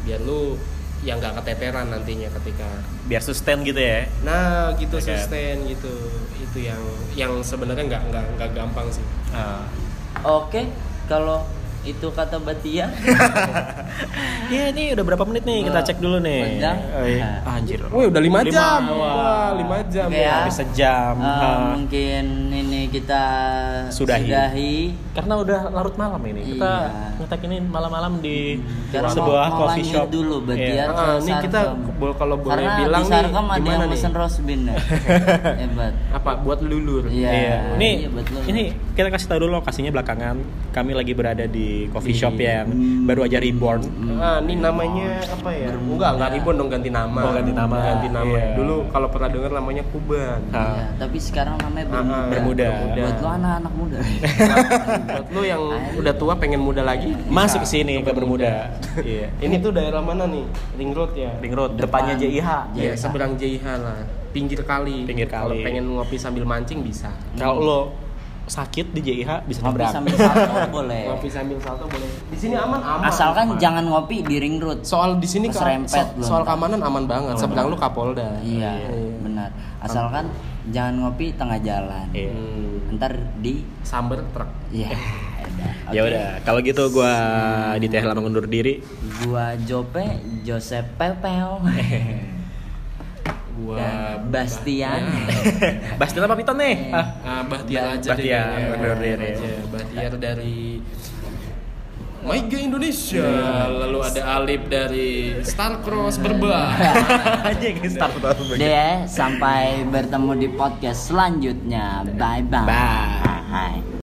biar lu yang nggak keteteran nantinya ketika biar sustain gitu ya Nah, gitu Oke. sustain gitu. Itu yang yang sebenarnya nggak nggak nggak gampang sih. Ah. Oke, kalau itu kata [laughs] Batia. Iya ini udah berapa menit nih kita Wah, cek dulu nih. panjang. Oh, iya. Nah. Anjir. Wih, udah 5 jam. Wah. Wah, 5 jam. Oke, ya. ya. Habis sejam. eh, Ah. mungkin ini kita Sudahi. sudahi. Karena udah larut malam ini. Kita Iya. ngetek ini malam-malam di Karena sebuah mau- mau coffee lanjut shop. dulu, ya. Batia. Iya. Ah, ini Sarkem. kita bo- kalau boleh Karena bilang di nih Sarkem ada gimana yang nih? mesen rosbin [laughs] ya. Hebat. Apa buat lulur? Iya. Iya. Ini iya, betul. ini kita kasih tahu dulu lokasinya belakangan. Kami lagi berada di coffee Di- shop Iya. yang baru aja reborn. Ah, ini namanya apa ya? Enggak, enggak ribon dong ganti nama. Oh, ganti nama. Ganti nama. Iya. Dulu kalau pernah dengar namanya [laughs] Kuban. Iya, Ah. tapi sekarang namanya Ah, Bermuda. Bermuda. Buat lo anak-anak muda. [laughs] buat lu yang udah tua pengen muda lagi. Masuk bisa. sini ke Bermuda. Iya. Ini tuh daerah mana nih? Ring road ya. Ring road Depan. depannya JIH. Iya, JIH. seberang JIH lah. Pinggir kali. Pinggir Kalau kali. pengen ngopi sambil mancing bisa. Kalau lo sakit di JIH bisa Ngopi Hmm. nabrak. sambil [laughs] salto boleh. Ngopi sambil salto boleh. Di sini aman aman. Asalkan Aman. jangan ngopi di ring road. soal di sini Pas ke- rempet so- belum. soal keamanan aman banget. Seberang lu Kapolda. Iya, benar. Asalkan jangan ngopi tengah jalan. Iya. Hmm. Ntar di Samber truk. [laughs] ya. udah. Ya Oke. udah, kalau gitu gua di teh lama undur [laughs] diri. Gua Jope, Joseph [laughs] Pepeo. Gua Dan Iya. Ya, Bastian. [laughs] Bastian apa Piton nih? [laughs] Ah. Ah, Bahtiar aja deh. Bahtiar, kayaknya. bener, bener, Bahtiar ya. aja. Bahtiar dari Maiga Indonesia, Iya. lalu ada Alip dari Starcross [laughs] Berba. Aja yang start banget. ya, Deh, sampai bertemu di podcast selanjutnya. Bye-bye. Bye. Bye.